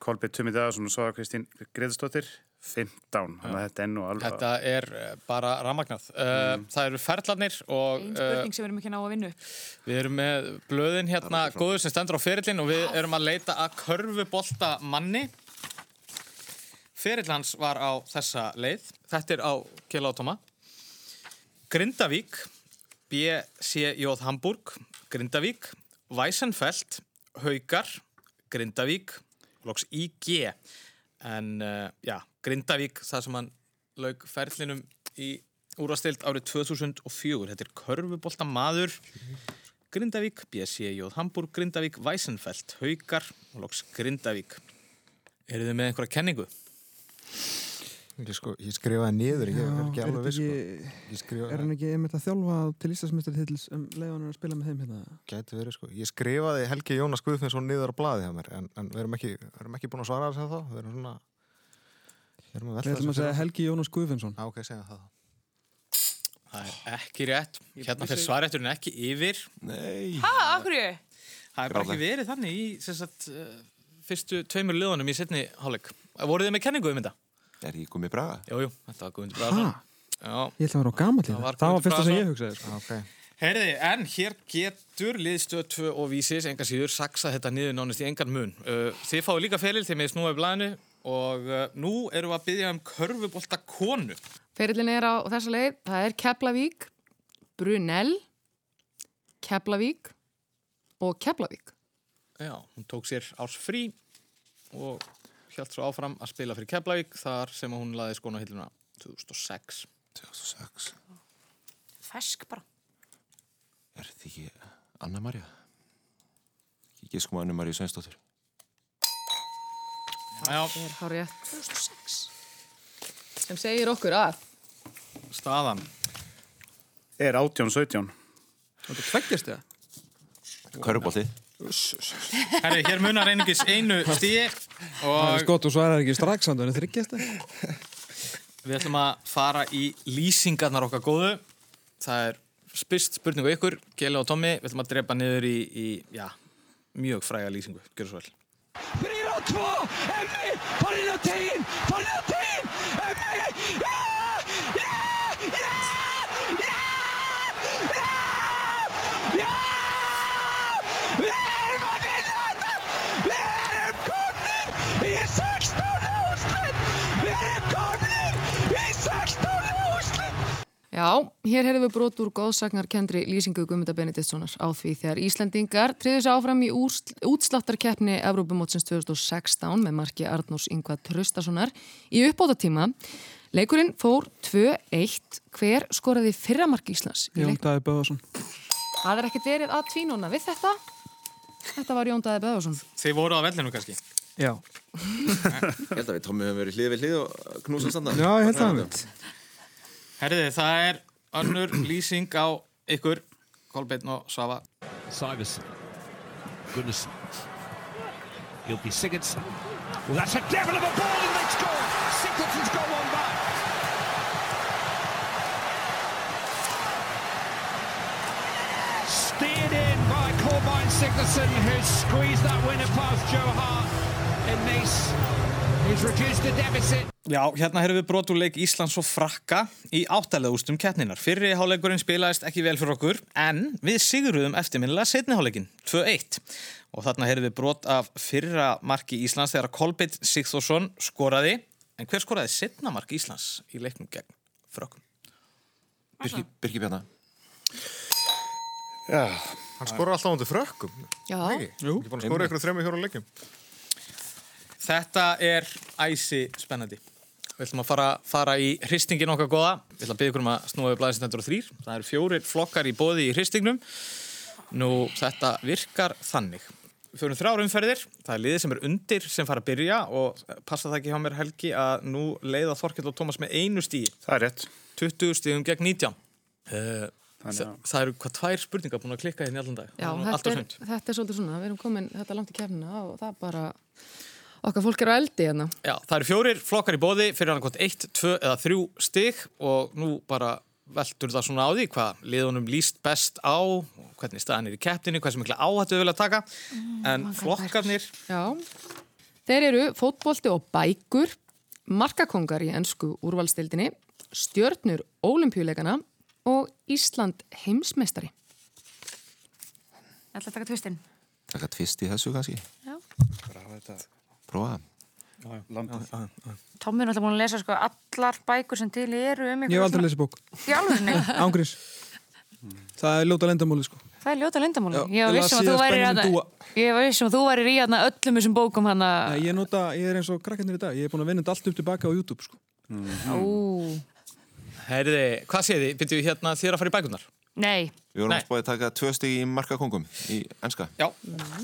Speaker 3: Kolbjörn Tumi Dagarsson og Svaga Kristín Greðstóttir 15, þannig að þetta er nú alveg
Speaker 1: Þetta er eh, bara ramagnað. Mm. Það eru ferlarnir og
Speaker 11: einn
Speaker 1: eh,
Speaker 11: spurning sem við erum ekki ná að vinna upp
Speaker 1: við erum með blöðin hérna góður sem stendur á ferillin og við erum að leita að körfubolta manni. Ferill hans var á þessa leið. Þetta er á Kjell Átoma. Grindavík, BCJ Hamburg, Grindavík, Weissenfeld, Haukar, Grindavík, loks IG. En uh, já, Grindavík, það sem hann lauk ferlinum í úrastild árið 2004. Þetta er körfubolta maður, Grindavík, BCJ Hamburg, Grindavík, Weissenfeld, Haukar og loks Grindavík. Eru þið með einhverja kenningu?
Speaker 5: Ég, sko, ég skrifaði niður, ég er ekki
Speaker 4: er
Speaker 5: alveg viss.
Speaker 4: þetta
Speaker 5: Sko. Ég
Speaker 4: ekki- Er
Speaker 5: skrifaði,
Speaker 4: hann ekki einmitt að þjálfa til Íslandsmeistari til um leiðanur að spila með þeim hérna?
Speaker 5: gæti verið, sko. Ég skrifaði Helgi Jónas Guðfinnsson niður á blaði hjá mér, en, en við erum ekki, við erum ekki búin að svara þess að það. Við erum svona, við erum að
Speaker 4: Við
Speaker 5: velta
Speaker 4: ætlum að segja
Speaker 5: fyrir.
Speaker 4: Helgi Jónas Guðfinnsson.
Speaker 5: Á, ok, segja það.
Speaker 1: Það er ekki rétt. Hérna fyrir svarætturinn ekki yfir.
Speaker 7: Nei.
Speaker 11: ha, akkurju?
Speaker 1: Það er bara ekki verið þannig í sem sagt, eh, fyrstu tveimur liðunum í setni hálfleik. Voruð þið með kenningu um þetta?
Speaker 7: Er ég komið braga?
Speaker 1: Jú, jú, þetta var Guðmundur Braðarsson. Já.
Speaker 4: Ég ætla að vera á gamall í
Speaker 1: Það
Speaker 4: það.
Speaker 1: var
Speaker 4: Það var
Speaker 1: Guðmundur
Speaker 4: fyrsta sem
Speaker 1: Braga.
Speaker 4: ég hugsaði. Sko.
Speaker 5: Ok,
Speaker 1: Herði, en hér getur liðstöð 2 og vísis, enga síður, saksa þetta niður nánast í engan mun. Uh, þið fáið líka feril þegar við snúið blæðinu og uh, nú erum við að byggja um körfubolta konu.
Speaker 2: Ferillin er á þessa leið, það er Keflavík, Brunel, Keflavík og Keflavík.
Speaker 1: Já, hún tók sér árs frí og hjátt svo áfram að spila fyrir Keflavík þar sem hún laði skona hilluna 2006.
Speaker 7: 2006.
Speaker 11: fersk bara
Speaker 7: Er þetta ekki Anna Marja? Ekki giskum að sko Anna Marja Sveinsdóttir.
Speaker 1: Já,
Speaker 2: Það er hár rétt.
Speaker 11: 2006
Speaker 2: Sem segir okkur að
Speaker 1: staðan.
Speaker 3: er átjón 17
Speaker 4: Þetta er tveggjast eða?
Speaker 7: Körubolti.
Speaker 1: Herri, hér munar einungis einu stíi
Speaker 4: Það er
Speaker 1: og
Speaker 4: skott og svarar ekki strax, samt, en þetta er þryggjast eða?
Speaker 1: við ætlum að fara í lýsingarnar okkar góðu. Það er spyrst spurning á ykkur, Kjelli og Tommi, við ætlum að drepa niður í, í já, mjög fræga lýsingu, gjör svo vel.
Speaker 10: Pereira
Speaker 12: två! Emmy! På latin! På latin! Emmy! Ja! Ja! Ja! Ja! Ja! Ja! Vi er med vinnerne! Vi er kommet i 16. úrslit! Vi er kommet i 16. úrslit!
Speaker 2: Já, hér heyrðum við brot úr góðsagnarkendri lýsingu Guðmunda Benediktssonar á því þegar Íslendingar triði sér áfram í úrsl- útsláttarkeppni Evrópumótsins 2016 með marki Arnórs Yngva Tröstasonar í uppbótatíma. Leikurinn fór 2-1 hver skoraði fyrra mark Íslands í
Speaker 4: Jón
Speaker 2: leik.
Speaker 4: Dæði Böðarsson
Speaker 2: Það er ekkert verið að tvínuna við þetta. Þetta var Jón Dæði Böðvarsson.
Speaker 1: Þið voru á vellinu kannski
Speaker 4: Já
Speaker 7: Ég held að við Tommi höfum verið hlið við hlið og knúsum samt
Speaker 4: Já, ég held að hann
Speaker 1: Herriði, það er önnur lýsing á ykkur Kolbeinn og Svafa
Speaker 13: Sævis Gunnarsson He'll be Sigurdsson. Well, that's a devil of a ball, and they score. Sigurdsson's got one back. Steered in by Corbijn Sigurdsson, who squeezed that winner past Joe Hart in Nice. He's reduced the deficit.
Speaker 1: Já, hérna hefur við brot úr leik Íslands og Frakka í áttalega úrstum keppninar. Fyrri hálfleikurinn spilaðist ekki vel fyrir okkur, en við siguruðum eftirminnilega setni hálfleikin, 2-1. Og þarna hefur við brot af fyrra marki Íslands þegar Kolbeitt Sigþórsson skoraði. En hver skoraði setna marki Íslands í leiknum gegn Frökkum?
Speaker 7: Birki, Birki Bjarnar.
Speaker 5: Já, hann skorur alltaf undir frökkum.
Speaker 2: Já.
Speaker 5: Ekki? Jú. Ekki búin að skora ykkur þrema hjóra leikjum.
Speaker 1: Þetta er æsi spennandi. Við ætlum að fara, fara í hristingin okkar góða. Við ætlum að byggja ykkur um að snúa við blæðistendur og þrýr. Það eru fjórir flokkar í bóði í hristingnum. Nú, þetta virkar þannig. Við fyrir þrjár umferðir. Það er liðið sem er undir sem fara að byrja og passa það ekki hjá mér Helgi að nú leiða Þorkell og Tómas með einu stíi.
Speaker 3: Það er rétt.
Speaker 1: 20 stíðum gegn 19. Uh, það, það eru hvað tvær spurningar búin að klikka hérna í allan dag.
Speaker 2: Já,
Speaker 1: Það nú
Speaker 2: þetta
Speaker 1: allt og
Speaker 2: er,
Speaker 1: sumt.
Speaker 2: þetta er svolítið svona. Við erum komin þetta langt í keppnina og það bara, okkar fólk er á eldi hérna.
Speaker 1: Já, það eru fjórir flokkar í bóði fyrir hann hvort 1, 2 eða 3 stig og nú bara veldur það svona á því hvað liðunum líst best á og hvernig staðan er í keppninni, hversu mikla áhættu við vilja taka en flokkarnir
Speaker 2: Já. Þeir eru fótbolti og bækur, markakongar í ennsku úrvalstildinni, stjörnur ólimpíuleikana og Ísland heimsmeistari.
Speaker 11: ætla að taka tvistinn
Speaker 7: Takka tvist í þessu kannski.
Speaker 11: Já.
Speaker 7: Prófa.
Speaker 11: Tommi er alltaf búin að lesa sko allar bækur sem til eru um ykkur
Speaker 4: Ég hef aldrei lesið bók,
Speaker 11: lesið Jálfurinni,
Speaker 4: ángrís Það er ljóta lendamáli sko
Speaker 2: Ah.
Speaker 11: það er ljóta lindamáli
Speaker 4: Já,
Speaker 11: Ég var
Speaker 4: ég las
Speaker 11: vissum að þú
Speaker 4: síðast
Speaker 11: værir
Speaker 4: Benjamin
Speaker 11: hérna
Speaker 4: Dúa.
Speaker 11: Ég var vissum að þú værir í hérna öllum þessum bókum hana
Speaker 4: Nei, ég, nota, ég er eins og krakkarnir í dag, ég er búin að vinna þetta allt upp tilbaka á YouTube sko.
Speaker 11: Ú,
Speaker 1: Herði, hvað séð þið? Byrjuðu hérna þér að fara í bækunar?
Speaker 11: nei
Speaker 7: Við vorum alltaf búið að taka tvö stig í markakongum í enska.
Speaker 1: Já,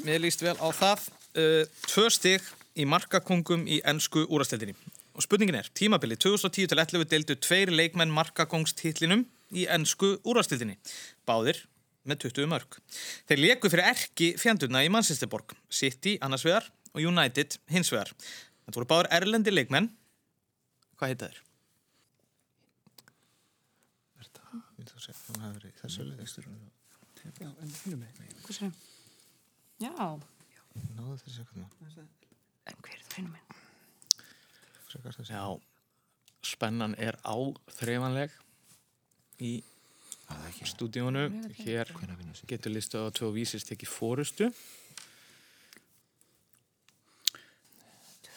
Speaker 1: mér líst vel á það uh, Tvö stig í markakongum í ennsku úrastildinni og spurningin er, tímabilið 2010 til 11 deildu tveir leikmenn markakongstitlinum í ennsku úrastildinni báðir með 20 mörg Þeir leku fyrir erki fjanduna í Mansisterborg City annars vegar og United hins vegar Þetta voru báður erlendi leikmenn Hvað heita þeir?
Speaker 5: Ég ætla að segja, hann hafi verið í þessu liði.
Speaker 4: Já, en finnum við
Speaker 11: Hversu? Já,
Speaker 5: Náðu þessi eitthvað.
Speaker 11: en hver er það finnum minn?
Speaker 1: Já, spennan er áþreifanleg í stúdíónu. Hér getur listu á tvö vísist ekki fórustu.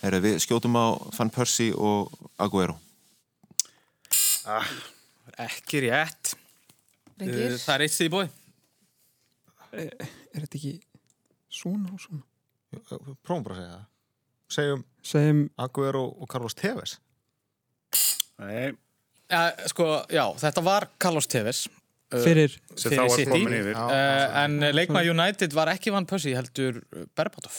Speaker 7: Herra, við skjótum á Van Persie og Aguero.
Speaker 1: Ah. Ekki rétt.
Speaker 4: Drengir.
Speaker 1: Uh, Það er eitt stig í bóði.
Speaker 4: Er þetta ekki svona og svona?
Speaker 5: Prófum bara að segja það. Segjum
Speaker 4: Segjum
Speaker 5: Aguero og Carlos Tevez.
Speaker 3: Nei.
Speaker 1: Ja, sko, já, þetta var Carlos Tevez.
Speaker 2: Eh.
Speaker 1: uh,
Speaker 4: Fyrir-
Speaker 3: Sem þá var
Speaker 1: City.
Speaker 3: kominn yfir.
Speaker 1: Uh, en leikma United var ekki Van Persie, heldur uh, Berbatov.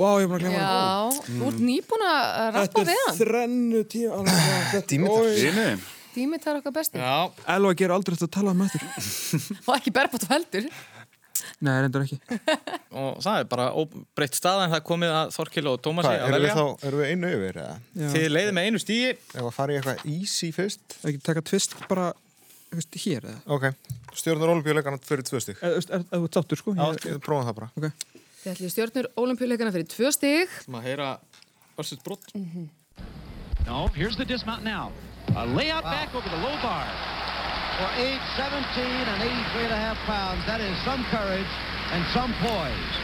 Speaker 4: Vá, ég er búin að glemja
Speaker 2: Já, þú
Speaker 4: Mm.
Speaker 2: ert nýbúin að rappa við hann.
Speaker 4: þrennu tíma alveg, þetta- Oj.
Speaker 2: Dímitar okkar besti.
Speaker 1: Já.
Speaker 4: Elva ger aldrei eftir að tala um þetta
Speaker 2: Og ekki berbátt veldur.
Speaker 4: Nei, reyndar ekki
Speaker 1: Og það er bara óbreytt staða en það er komið að Þorkil og Tómasi
Speaker 5: Hvað,
Speaker 1: að
Speaker 5: erum við
Speaker 1: velja.
Speaker 5: þá, erum við einu yfir? eða?
Speaker 1: Þið leiðið með einu stíi.
Speaker 5: Ef að fara í eitthvað easy fyrst?
Speaker 4: Ekki taka tvist bara, þú veist, hér eða
Speaker 5: Ok, stjórnar olimpíuleikana fyrir tvö stygg.
Speaker 4: Eða, þú veist, er- ef þú ert sáttur sko
Speaker 5: Já, prófum það bara.
Speaker 4: Ok
Speaker 2: Þið ætlið stjórnur ólimpíuleikana fyrir tvö stig.
Speaker 1: Maður heyra örsut brott.
Speaker 14: No, here's the dismount now. A layup back over the low bar.
Speaker 15: For 8, 17 and 83 and a half pounds, that is some courage and some poise.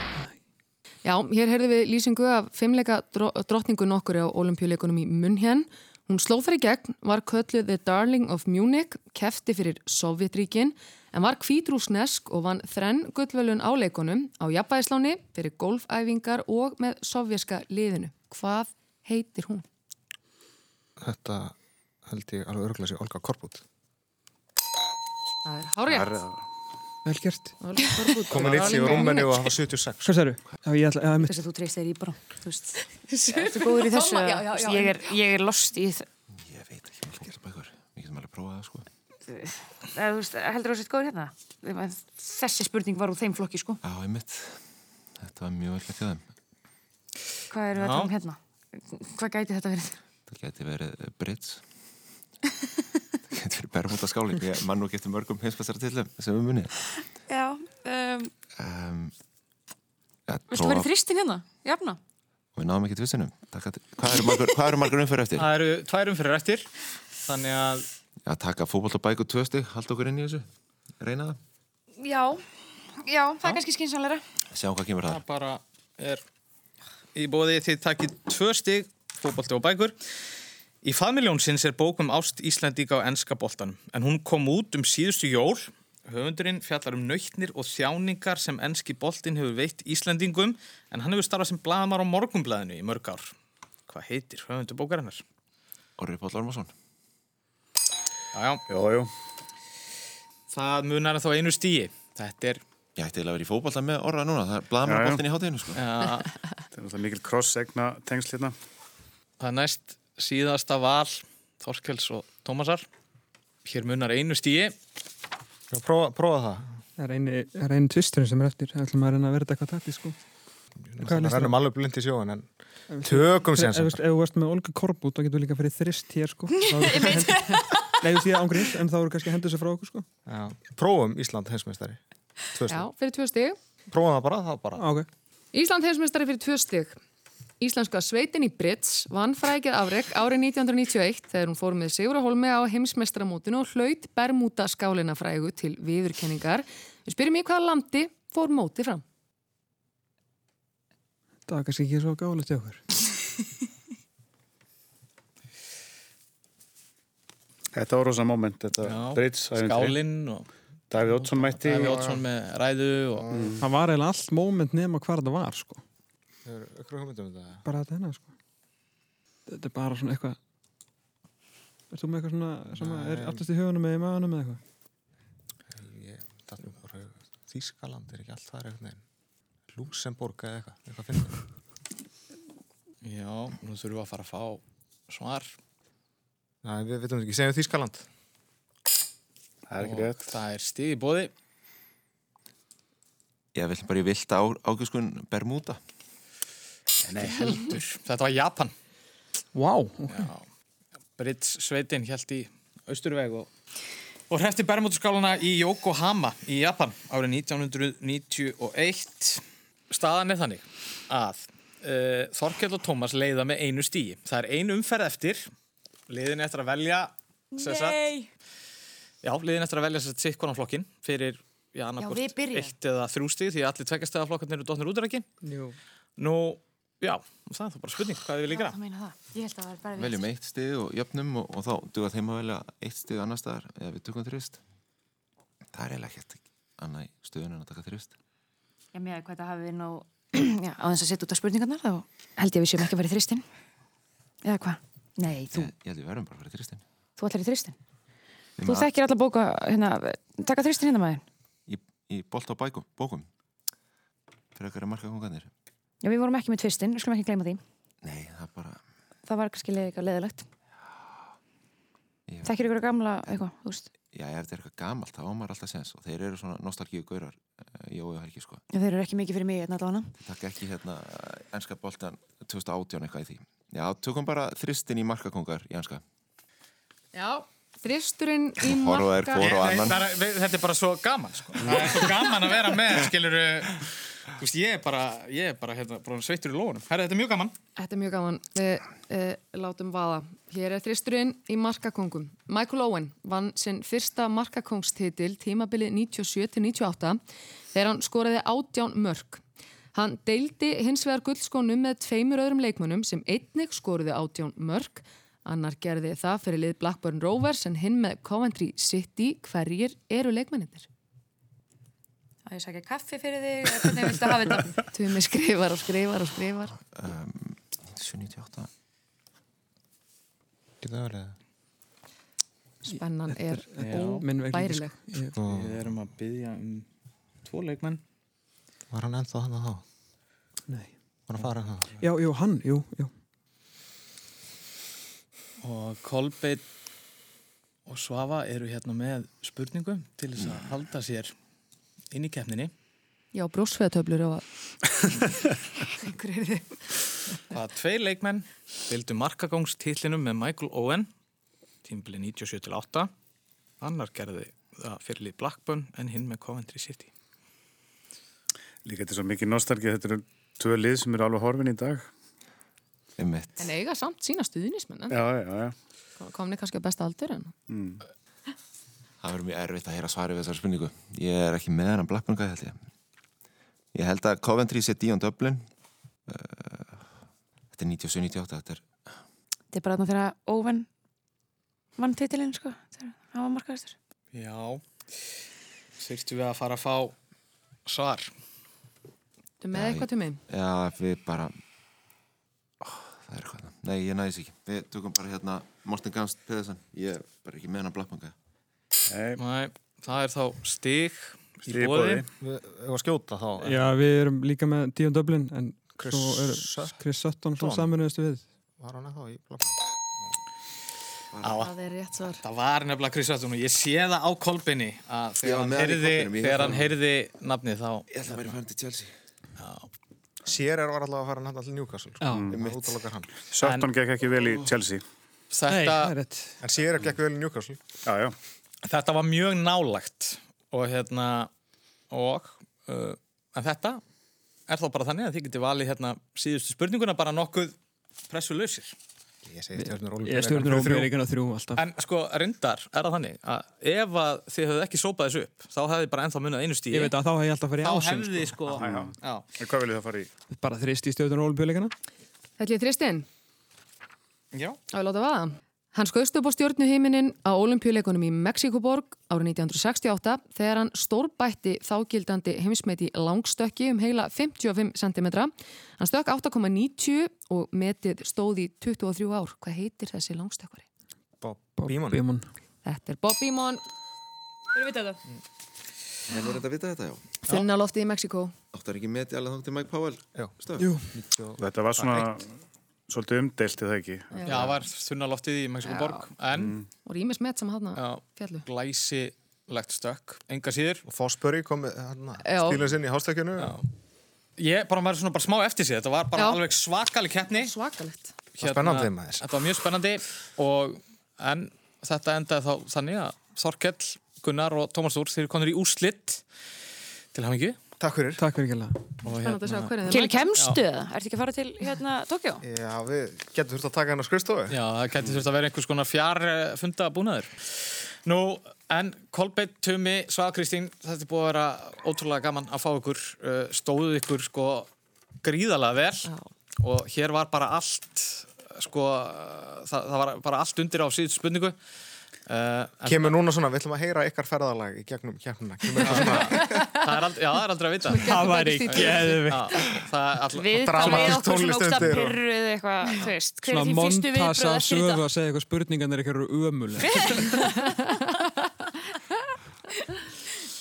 Speaker 2: Já, hér heyrðum við lýsingu af fimmleika dró- drottningu nokkur á ólimpíuleikunum í München. Hún sló þar í gegn, var kölluð The Darling of Munich, kefti fyrir Sovjetríkin, en var kvítrúsnesk og vann þrenn gullvölun á leikunum á jafnvægisláni fyrir golfæfingar og með sovjerska liðinu. Hvað heitir hún?
Speaker 5: Þetta held ég alveg örgulega sér Olga Korbut.
Speaker 2: Það er hárétt.
Speaker 4: Vel gert.
Speaker 5: Komin eitt sér Rúmeni og hafa 76.
Speaker 4: Hvað sérðu? Ég ætla, ég,
Speaker 11: Þess að þú treyst þér í bara, þú veist.
Speaker 6: Ertu
Speaker 11: Ertu
Speaker 6: góður í þessu?
Speaker 11: Já, já, já.
Speaker 6: Ég er, ég er lost í það.
Speaker 7: Við getum alveg að prófa það sko
Speaker 6: Eða, þú veist, heldur þú að sétt góður hérna? Ég meina, Þessi spurning var úr þeim flokki, sko.
Speaker 7: Já, einmitt Þetta var mjög vel að kjöðum
Speaker 6: Hvað erum við að
Speaker 7: Já.
Speaker 6: tala um hérna? Hvað gæti þetta verið?
Speaker 7: Það geti verið uh, Brits Það geti verið Bermuda skáling Ég mann nú getur mörgum heimsbæstara tillum sem við munið
Speaker 6: Já, um,
Speaker 7: um, ja,
Speaker 6: viltu verið þristin hérna? Jafna?
Speaker 7: Og við náðum ekki tvistinum Hvað eru margur, hvað eru margur umfyrir eftir?
Speaker 1: Það eru tvær umfyrir eftir, þannig að...
Speaker 7: Já, taka fótboll og bæk og tvö stygg Halda okkur inn í þessu Reyna það
Speaker 6: Já, já, það er kannski skynsamleira.
Speaker 7: Sjáum hvað kemur það
Speaker 1: Það bara er í bóði þið takkið tvö stig, fótbolti og bækur. Í faðmiljónsins er bók um ást Íslandíka á enska boltanum, en hún kom út um síðustu jól. Höfundurinn fjallar um nöytnir og þjáningar sem enski boltin hefur veitt Íslandingum, en hann hefur starfað sem blaðamar á morgumblæðinu í mörg ár. Hvað heitir höfundur bókarinnar?
Speaker 7: Orri Páll Ormarsson.
Speaker 1: Já, já.
Speaker 3: Jó, jó.
Speaker 1: Það munar þá einu stíi. Þetta er...
Speaker 7: Ég ætti eiginlega að vera í fótbolta með orra núna, það er blaðmannaboltinn í hátinu sko.
Speaker 1: Já.
Speaker 3: Það er náttúrulega mikil cross-segna tengsl hérna.
Speaker 1: Það er næst síðasta val Þorkels og Tómasar. Hér munar einu stíi.
Speaker 5: Prófa, prófa það.
Speaker 4: Það er eini, það er eini tvisturinn sem er eftir. Það ætlum að reyna að vera þetta eitthvað takti, sko. Hvað er
Speaker 5: Það
Speaker 4: listan?
Speaker 5: rennum alveg blind í sjóin, en tökum
Speaker 4: Ef
Speaker 5: sér
Speaker 4: þú veist, ef þú veist með Olga Korbut, þá getur líka fyrir þrist hér, sko. Þá eru kannski
Speaker 5: Einmitt.
Speaker 4: hend- Nei, þú veist, ég ángrið, en þá eru kannski hendur sér frá okkur, sko.
Speaker 5: Prófum Ísland heimsmeistari. Tvö
Speaker 2: Já,
Speaker 5: stig.
Speaker 2: fyrir tvö stig.
Speaker 5: Prófum það bara, það bara.
Speaker 4: Okay.
Speaker 2: Ísland heimsmeistari fyrir tvö stig. Íslenska sveitin í Brits vann frækið afreg árið 1991 þegar hún fór með Sigur Holmi á heimsmeistaramótinu og hlaut Bermuda skálinna frægu til viðurkenningar. Við spyrjum í hvaða landi fór mótið fram.
Speaker 4: Það er kannski ekki svo gálega til okkur.
Speaker 3: Þetta var rosa moment, þetta Brits. ævintýri.
Speaker 1: skálinn og...
Speaker 3: Davíð Ótsson mætti.
Speaker 1: Davíð Oddsson með ræðu og...
Speaker 4: Það var eiginlega allt móment nema hvar það var, sko.
Speaker 5: Það eru ykkur hugmyndum um þetta.
Speaker 4: Bara þetta hennar, sko. Þetta er bara svona eitthvað... Er þú með eitthvað svona sem að er
Speaker 5: Nei.
Speaker 4: aftast í hugunum eða í maðunum eða eitthvað?
Speaker 5: Það er nú bara Þískaland er ekki allt það er eitthvað neginn. Lúsemborg eða eitthvað, eitthvað finnum við.
Speaker 1: Já, nú þurfum við að fara að fá svar.
Speaker 5: Nei, við veitum ekki, segjum Þískaland.
Speaker 3: Það
Speaker 1: er ekki rétt. Það er stíð í bóði.
Speaker 7: Ég vill bara í vilda ágjöskun Bermuda.
Speaker 1: Nei, heldur. Þetta var Japan.
Speaker 4: Vá. Wow.
Speaker 1: Brits sveitin hjælt í austurveg og, og hrefti bermútuskálana í Yokohama í Japan árið 1991. Staðan er þannig að uh, Þorkell og Tómas leiða með einu stíi. Það er einu umferð eftir, leiðin eftir að velja sem sagt- Já, liðin eftir að velja sér sitt konan flokkin fyrir já, annarkvort
Speaker 11: við byrjum.
Speaker 1: eitt eða þrjú stig því að allir tveggjastega flokkarnir eru dotnir út er ekki.
Speaker 4: Jú.
Speaker 1: Nú, já, það er þá bara spurning hvað við líka.
Speaker 11: Það meina það. Ég held að það var bara
Speaker 7: Veljum eitt stig og jöfnum og, og þá duga þeim að velja eitt stig annar staðar eða við tökum þrist. Það er eiginlega ekkert annað í stöðun en að taka þrist.
Speaker 6: Ég meða hvað það hafi nú... Já, á þess að setja út af spurningarnar þá held ég að við séum ekki að vera í þristin. Eða hvað? Nei,
Speaker 1: Eh.
Speaker 6: þú,
Speaker 7: Ég, ég held við verðum bara fyrir þristin.
Speaker 6: þú ætlar í þristin.
Speaker 7: Við
Speaker 6: Þú
Speaker 7: maður-
Speaker 6: þekkir alla bóka, hérna, taka þristin hérna maður.
Speaker 7: Í, í bolt á bækum, bókum. Fyrir okkar að marka konganir.
Speaker 6: Já, við vorum ekki með tvistin, við skulum ekki gleyma því.
Speaker 7: Nei, það er bara...
Speaker 6: Það var kannski leið- eitthvað leðilegt. Þekkir ykkur gamla, eitthvað, þú veist.
Speaker 7: Já, ef þetta er eitthvað gamalt, þá á maður alltaf sens og þeir eru svona nostalgíu gaurar, eh, Jói og Helgi sko.
Speaker 6: Já, þeir eru ekki mikið fyrir mig, hérna allavega.
Speaker 7: Takk ekki hérna eh, enska boltan 2018 eitthvað í því. Já, tökum bara þristin í markakongar í enska.
Speaker 2: Já, þristurinn í
Speaker 7: Horfa þær hvor á
Speaker 1: Ég-
Speaker 7: annan.
Speaker 1: það er- við- Þetta er bara svo gaman sko. Það er svo gaman að vera með skiluru Þú veist, ég er bara, ég er bara, hérna, bara sveittur í lóðunum. Herra, þetta er mjög gaman.
Speaker 2: Þetta er mjög gaman. Við uh, látum vaða. Hér er þristurinn í markakongum. Michael Owen vann sinn fyrsta markakongstitil tímabilið 97-98 þegar hann skoraði átján mörg. Hann deildi hins vegar gullskónum með tveimur öðrum leikmönnum sem einnig skoruði átján mörg. Annar gerði það fyrir lið Blackburn Rovers en hinn með Coventry City. Hverjir eru leikmennir?
Speaker 11: Á ég að sækja kaffi fyrir þig eða hvernig viltu hafa þetta
Speaker 2: Tumi skrifar og skrifar og skrifar.
Speaker 7: um, 798 Getur það verið?
Speaker 2: Spennan er
Speaker 1: Já.
Speaker 2: óbærileg.
Speaker 1: Sko, Við erum að byggja um tvo leikmenn.
Speaker 5: Var hann ennþá hann að þá?
Speaker 4: Nei.
Speaker 5: Var hann að fara hann?
Speaker 4: Já, jú, hann, jú, jú.
Speaker 1: Og Kolbeitt og Svava eru hérna með spurningu til þess að halda sér inn í keppninni.
Speaker 2: Já, brjósfeðatöflur og einhverju er þið.
Speaker 1: Hvaða tvei leikmenn vildu markagóngstitlinum með Michael Owen tímbili 97-8 annar gerði það fyrir lið Blackburn en hinn með Coventry City
Speaker 3: Líka þetta er svo mikið nostalgið, þetta eru tvö lið sem eru alveg horfin í dag.
Speaker 7: Einmitt.
Speaker 2: En eiga samt sína stuðnismenn.
Speaker 3: Já, já, já.
Speaker 2: Komni kannski að besta aldur en
Speaker 7: Mm. Það verður mjög erfitt að heyra svari við þessari spurningu. Ég er ekki með hann Blackburn-gæði held ég. Ég held að Coventry sé Dion Dublin. Uh, þetta er 97-98, þetta er...
Speaker 6: Þetta er bara þarna þegar Óven vann titilinn, sko. Þegar hann var markaðistur.
Speaker 1: Já Sýrstu við að fara að fá svar
Speaker 2: Þú með eitthvað til mig?
Speaker 7: Já, við bara... Ó, það er eitthvað það. Nei, ég næðis ekki. Við tökum bara hérna Morten Gamst Pedersen. Ég er bara ekki með hann Blackburn-gæði.
Speaker 3: Nei.
Speaker 1: það er þá stig
Speaker 7: Stig í
Speaker 1: í bóði
Speaker 7: boði.
Speaker 5: Við erum að skjóta þá.
Speaker 4: Já, við erum líka með Dion Dublin en
Speaker 5: Chris
Speaker 4: svo er
Speaker 5: Sutton.
Speaker 4: Chris Sutton svo
Speaker 5: Sutton.
Speaker 4: saminuðist við.
Speaker 5: Var hann ennþá í blokk?
Speaker 2: Það er rétt svar
Speaker 1: Það var nefnilega Chris Sutton og ég sé það á Kolbeinni að
Speaker 7: Ég
Speaker 1: þegar
Speaker 7: var
Speaker 1: hann
Speaker 7: með hann í
Speaker 1: heyrði,
Speaker 7: kolbeinum, ég
Speaker 1: þegar
Speaker 7: held
Speaker 1: hann
Speaker 7: að-
Speaker 1: heyrði nafnið þá Ég
Speaker 7: ætla að vera fæm til Chelsea
Speaker 5: Sér er var allavega að fara hann alltaf til Newcastle.
Speaker 1: Já.
Speaker 5: Það
Speaker 1: Einmitt.
Speaker 5: útlokar hann.
Speaker 3: Sutton gekk ekki vel í Chelsea.
Speaker 1: þetta,
Speaker 5: En sér gekk vel í Newcastle.
Speaker 3: Já, já.
Speaker 1: þetta var mjög nálagt og hérna og uh, en þetta er þá bara þannig að þið getið valið hérna síðustu spurninguna bara nokkuð pressulösir
Speaker 5: Ég segi hérna stjórnur
Speaker 4: Ég stjórnir ómjöríkana þrjú alltaf.
Speaker 1: En sko, reyndar er það þannig að ef að þið höfðu ekki sópað þessu upp þá hefði bara ennþá munið einu stíði
Speaker 4: Ég veit að þá hef ég alltaf farið í
Speaker 1: Þá
Speaker 4: ásinn,
Speaker 1: hefði sko,
Speaker 3: Já, já.
Speaker 1: já.
Speaker 3: En hvað viljið það fara í?
Speaker 4: Bara þrist í stjórnir ómjöríkana.
Speaker 2: Þetta er Þristinn,
Speaker 1: Já.
Speaker 2: á ég láta vaða. Hann skauðst upp á stjórnuhiminin á olimpíuleikunum í Mexikoborg árið 1968 þegar hann stórbætti þágildandi heimsmeiti langstökki um heila 55 cm. Hann stökk 8,90 og metið stóði 23 ár. Hvað heitir þessi langstökkari?
Speaker 5: Bob Beamon.
Speaker 4: Beamon.
Speaker 2: Þetta er Bob Beamon,
Speaker 11: Þú eru vitað þetta
Speaker 7: En er þetta að vita þetta, já?
Speaker 2: finna loftið í Mexiko.
Speaker 7: Áttar ekki metið alveg þótt til Mike Powell?
Speaker 5: Já.
Speaker 7: Stöf?
Speaker 4: Jú.
Speaker 3: Þetta var svona svolítið umdelt, er það ekki?
Speaker 1: Já, það var þunna loftið í Mexiko borg en
Speaker 2: Og Rímis Met sem hann fjallu.
Speaker 1: glæsilegt stökk, enga síður
Speaker 5: Og Fosbury kom með hérna,
Speaker 2: Já.
Speaker 5: stílinn sinn í hástökkinu.
Speaker 1: Ég bara maður er svona bara smá eftir sig, þetta var bara
Speaker 2: Já.
Speaker 1: alveg svakalig keppni
Speaker 2: Svakalegt
Speaker 5: Spennandi, maður.
Speaker 1: Hérna, Þetta var mjög spennandi og en þetta endaði þá þannig að Þorkell, Gunnar og Tómas Úr þeir eru konur í úrslitt til hamingju
Speaker 5: Takk fyrir
Speaker 4: Takk fyrir gæla
Speaker 1: Spennandi
Speaker 6: Til kemstu það? Ertu ekki að fara til hérna Tókjó?
Speaker 5: Já, við getum þurft að taka hann á skrifstofu.
Speaker 1: Já, það gæti þurft að vera einhvers konar fjarfunda búnaður. Nú, en Kolbeitt, Tumi, Svaða Kristín, þetta er búið að vera ótrúlega gaman að fá ykkur, uh, stóðu ykkur sko gríðalega vel og hér var bara allt, sko, uh, það, það var bara allt undir á síðustu spurningu. Uh, en-
Speaker 5: Kemur núna svona, við ætlum að heyra ykkar ferðalag í gegnum keppnuna. Kemur eitthvað svona
Speaker 1: Það er aldrei, já, það er aldrei að vita.
Speaker 5: Það væri geðveikt.
Speaker 1: Já, Það er alltaf
Speaker 6: Við bara við okkur svona ógsta pyrruð eitthvað, þú veist, hver er
Speaker 4: Svona
Speaker 6: þín fyrstu
Speaker 4: montasa
Speaker 6: viðbröð eftir
Speaker 4: sögu
Speaker 6: þetta?
Speaker 4: að segja eitthvað spurningan er eitthvað eru ömuleg.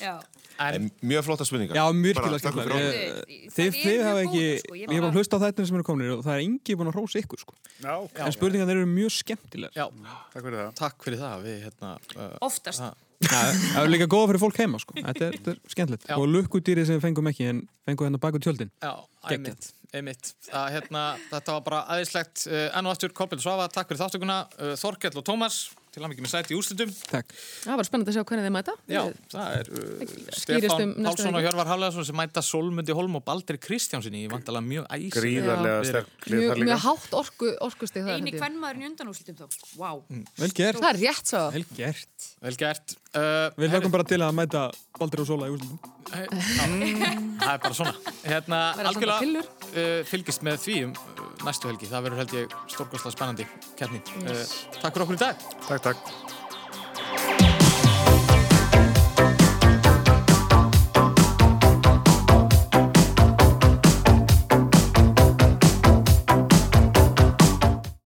Speaker 11: Já
Speaker 1: En
Speaker 7: mjög flotta spurningar.
Speaker 4: Já, myrkilega
Speaker 7: Bara, takk fyrir
Speaker 4: skemmtilega.
Speaker 7: okkur.
Speaker 4: Ég- Þið, þið hafa ekki, sko. ég hef að hlusta á þættinni sem eru kominir og það er engi búin að hrósa ykkur sko.
Speaker 3: Já,
Speaker 4: En spurningan eru mjög skemmtilegar.
Speaker 1: Já,
Speaker 3: takk fyrir það.
Speaker 1: Takk fyrir það, við hérna... Uh,
Speaker 11: Oftast.
Speaker 1: það-
Speaker 4: Það er líka góða fyrir fólk heima sko. Þetta er, þetta er skemmtilegt. Og lukkudýrið sem við fengum ekki en fengum hérna baku tjöldin.
Speaker 1: Já, einmitt, einmitt. Það, hérna, þetta var bara aðeinslegt uh, enn og aftur, Kolbjörn Svafa, takk fyrir þáttökuna, uh, Þorkell og Tómas, til hann ekki með sæti í úrslitum.
Speaker 4: Takk.
Speaker 2: Það var spennandi að sjá hvernig þeir mæta.
Speaker 1: Já, það er uh,
Speaker 2: skýrist um
Speaker 1: Stefán
Speaker 2: næstu
Speaker 1: Pálsson og
Speaker 2: helgi.
Speaker 1: Hjörvar Hafleðarsson sem mæta Solmundi Holm og Baldri Kristjánsinni í vandala mjög æsir.
Speaker 3: Gríðarlega sterk
Speaker 2: Mjög, mjög hátt orku, orkustig það.
Speaker 11: Einu
Speaker 2: held ég.
Speaker 11: kvennmaðurinn í undanúslitum þá. Vá.
Speaker 4: Vel gert.
Speaker 2: Það er rétt svo.
Speaker 4: Vel gert.
Speaker 1: Vel gert. Uh,
Speaker 4: Við hlökkum bara til að mæta Baldur og Sola í úrslutum.
Speaker 1: Það er bara svona. Hérna,
Speaker 4: Verða svona
Speaker 1: algjörlega
Speaker 4: pillur.
Speaker 1: uh, fylgist með því um uh, næstu helgi. Það verður held ég stórkostlega spennandi kerni. Uh, takk fyrir okkur í dag.
Speaker 3: Takk, takk.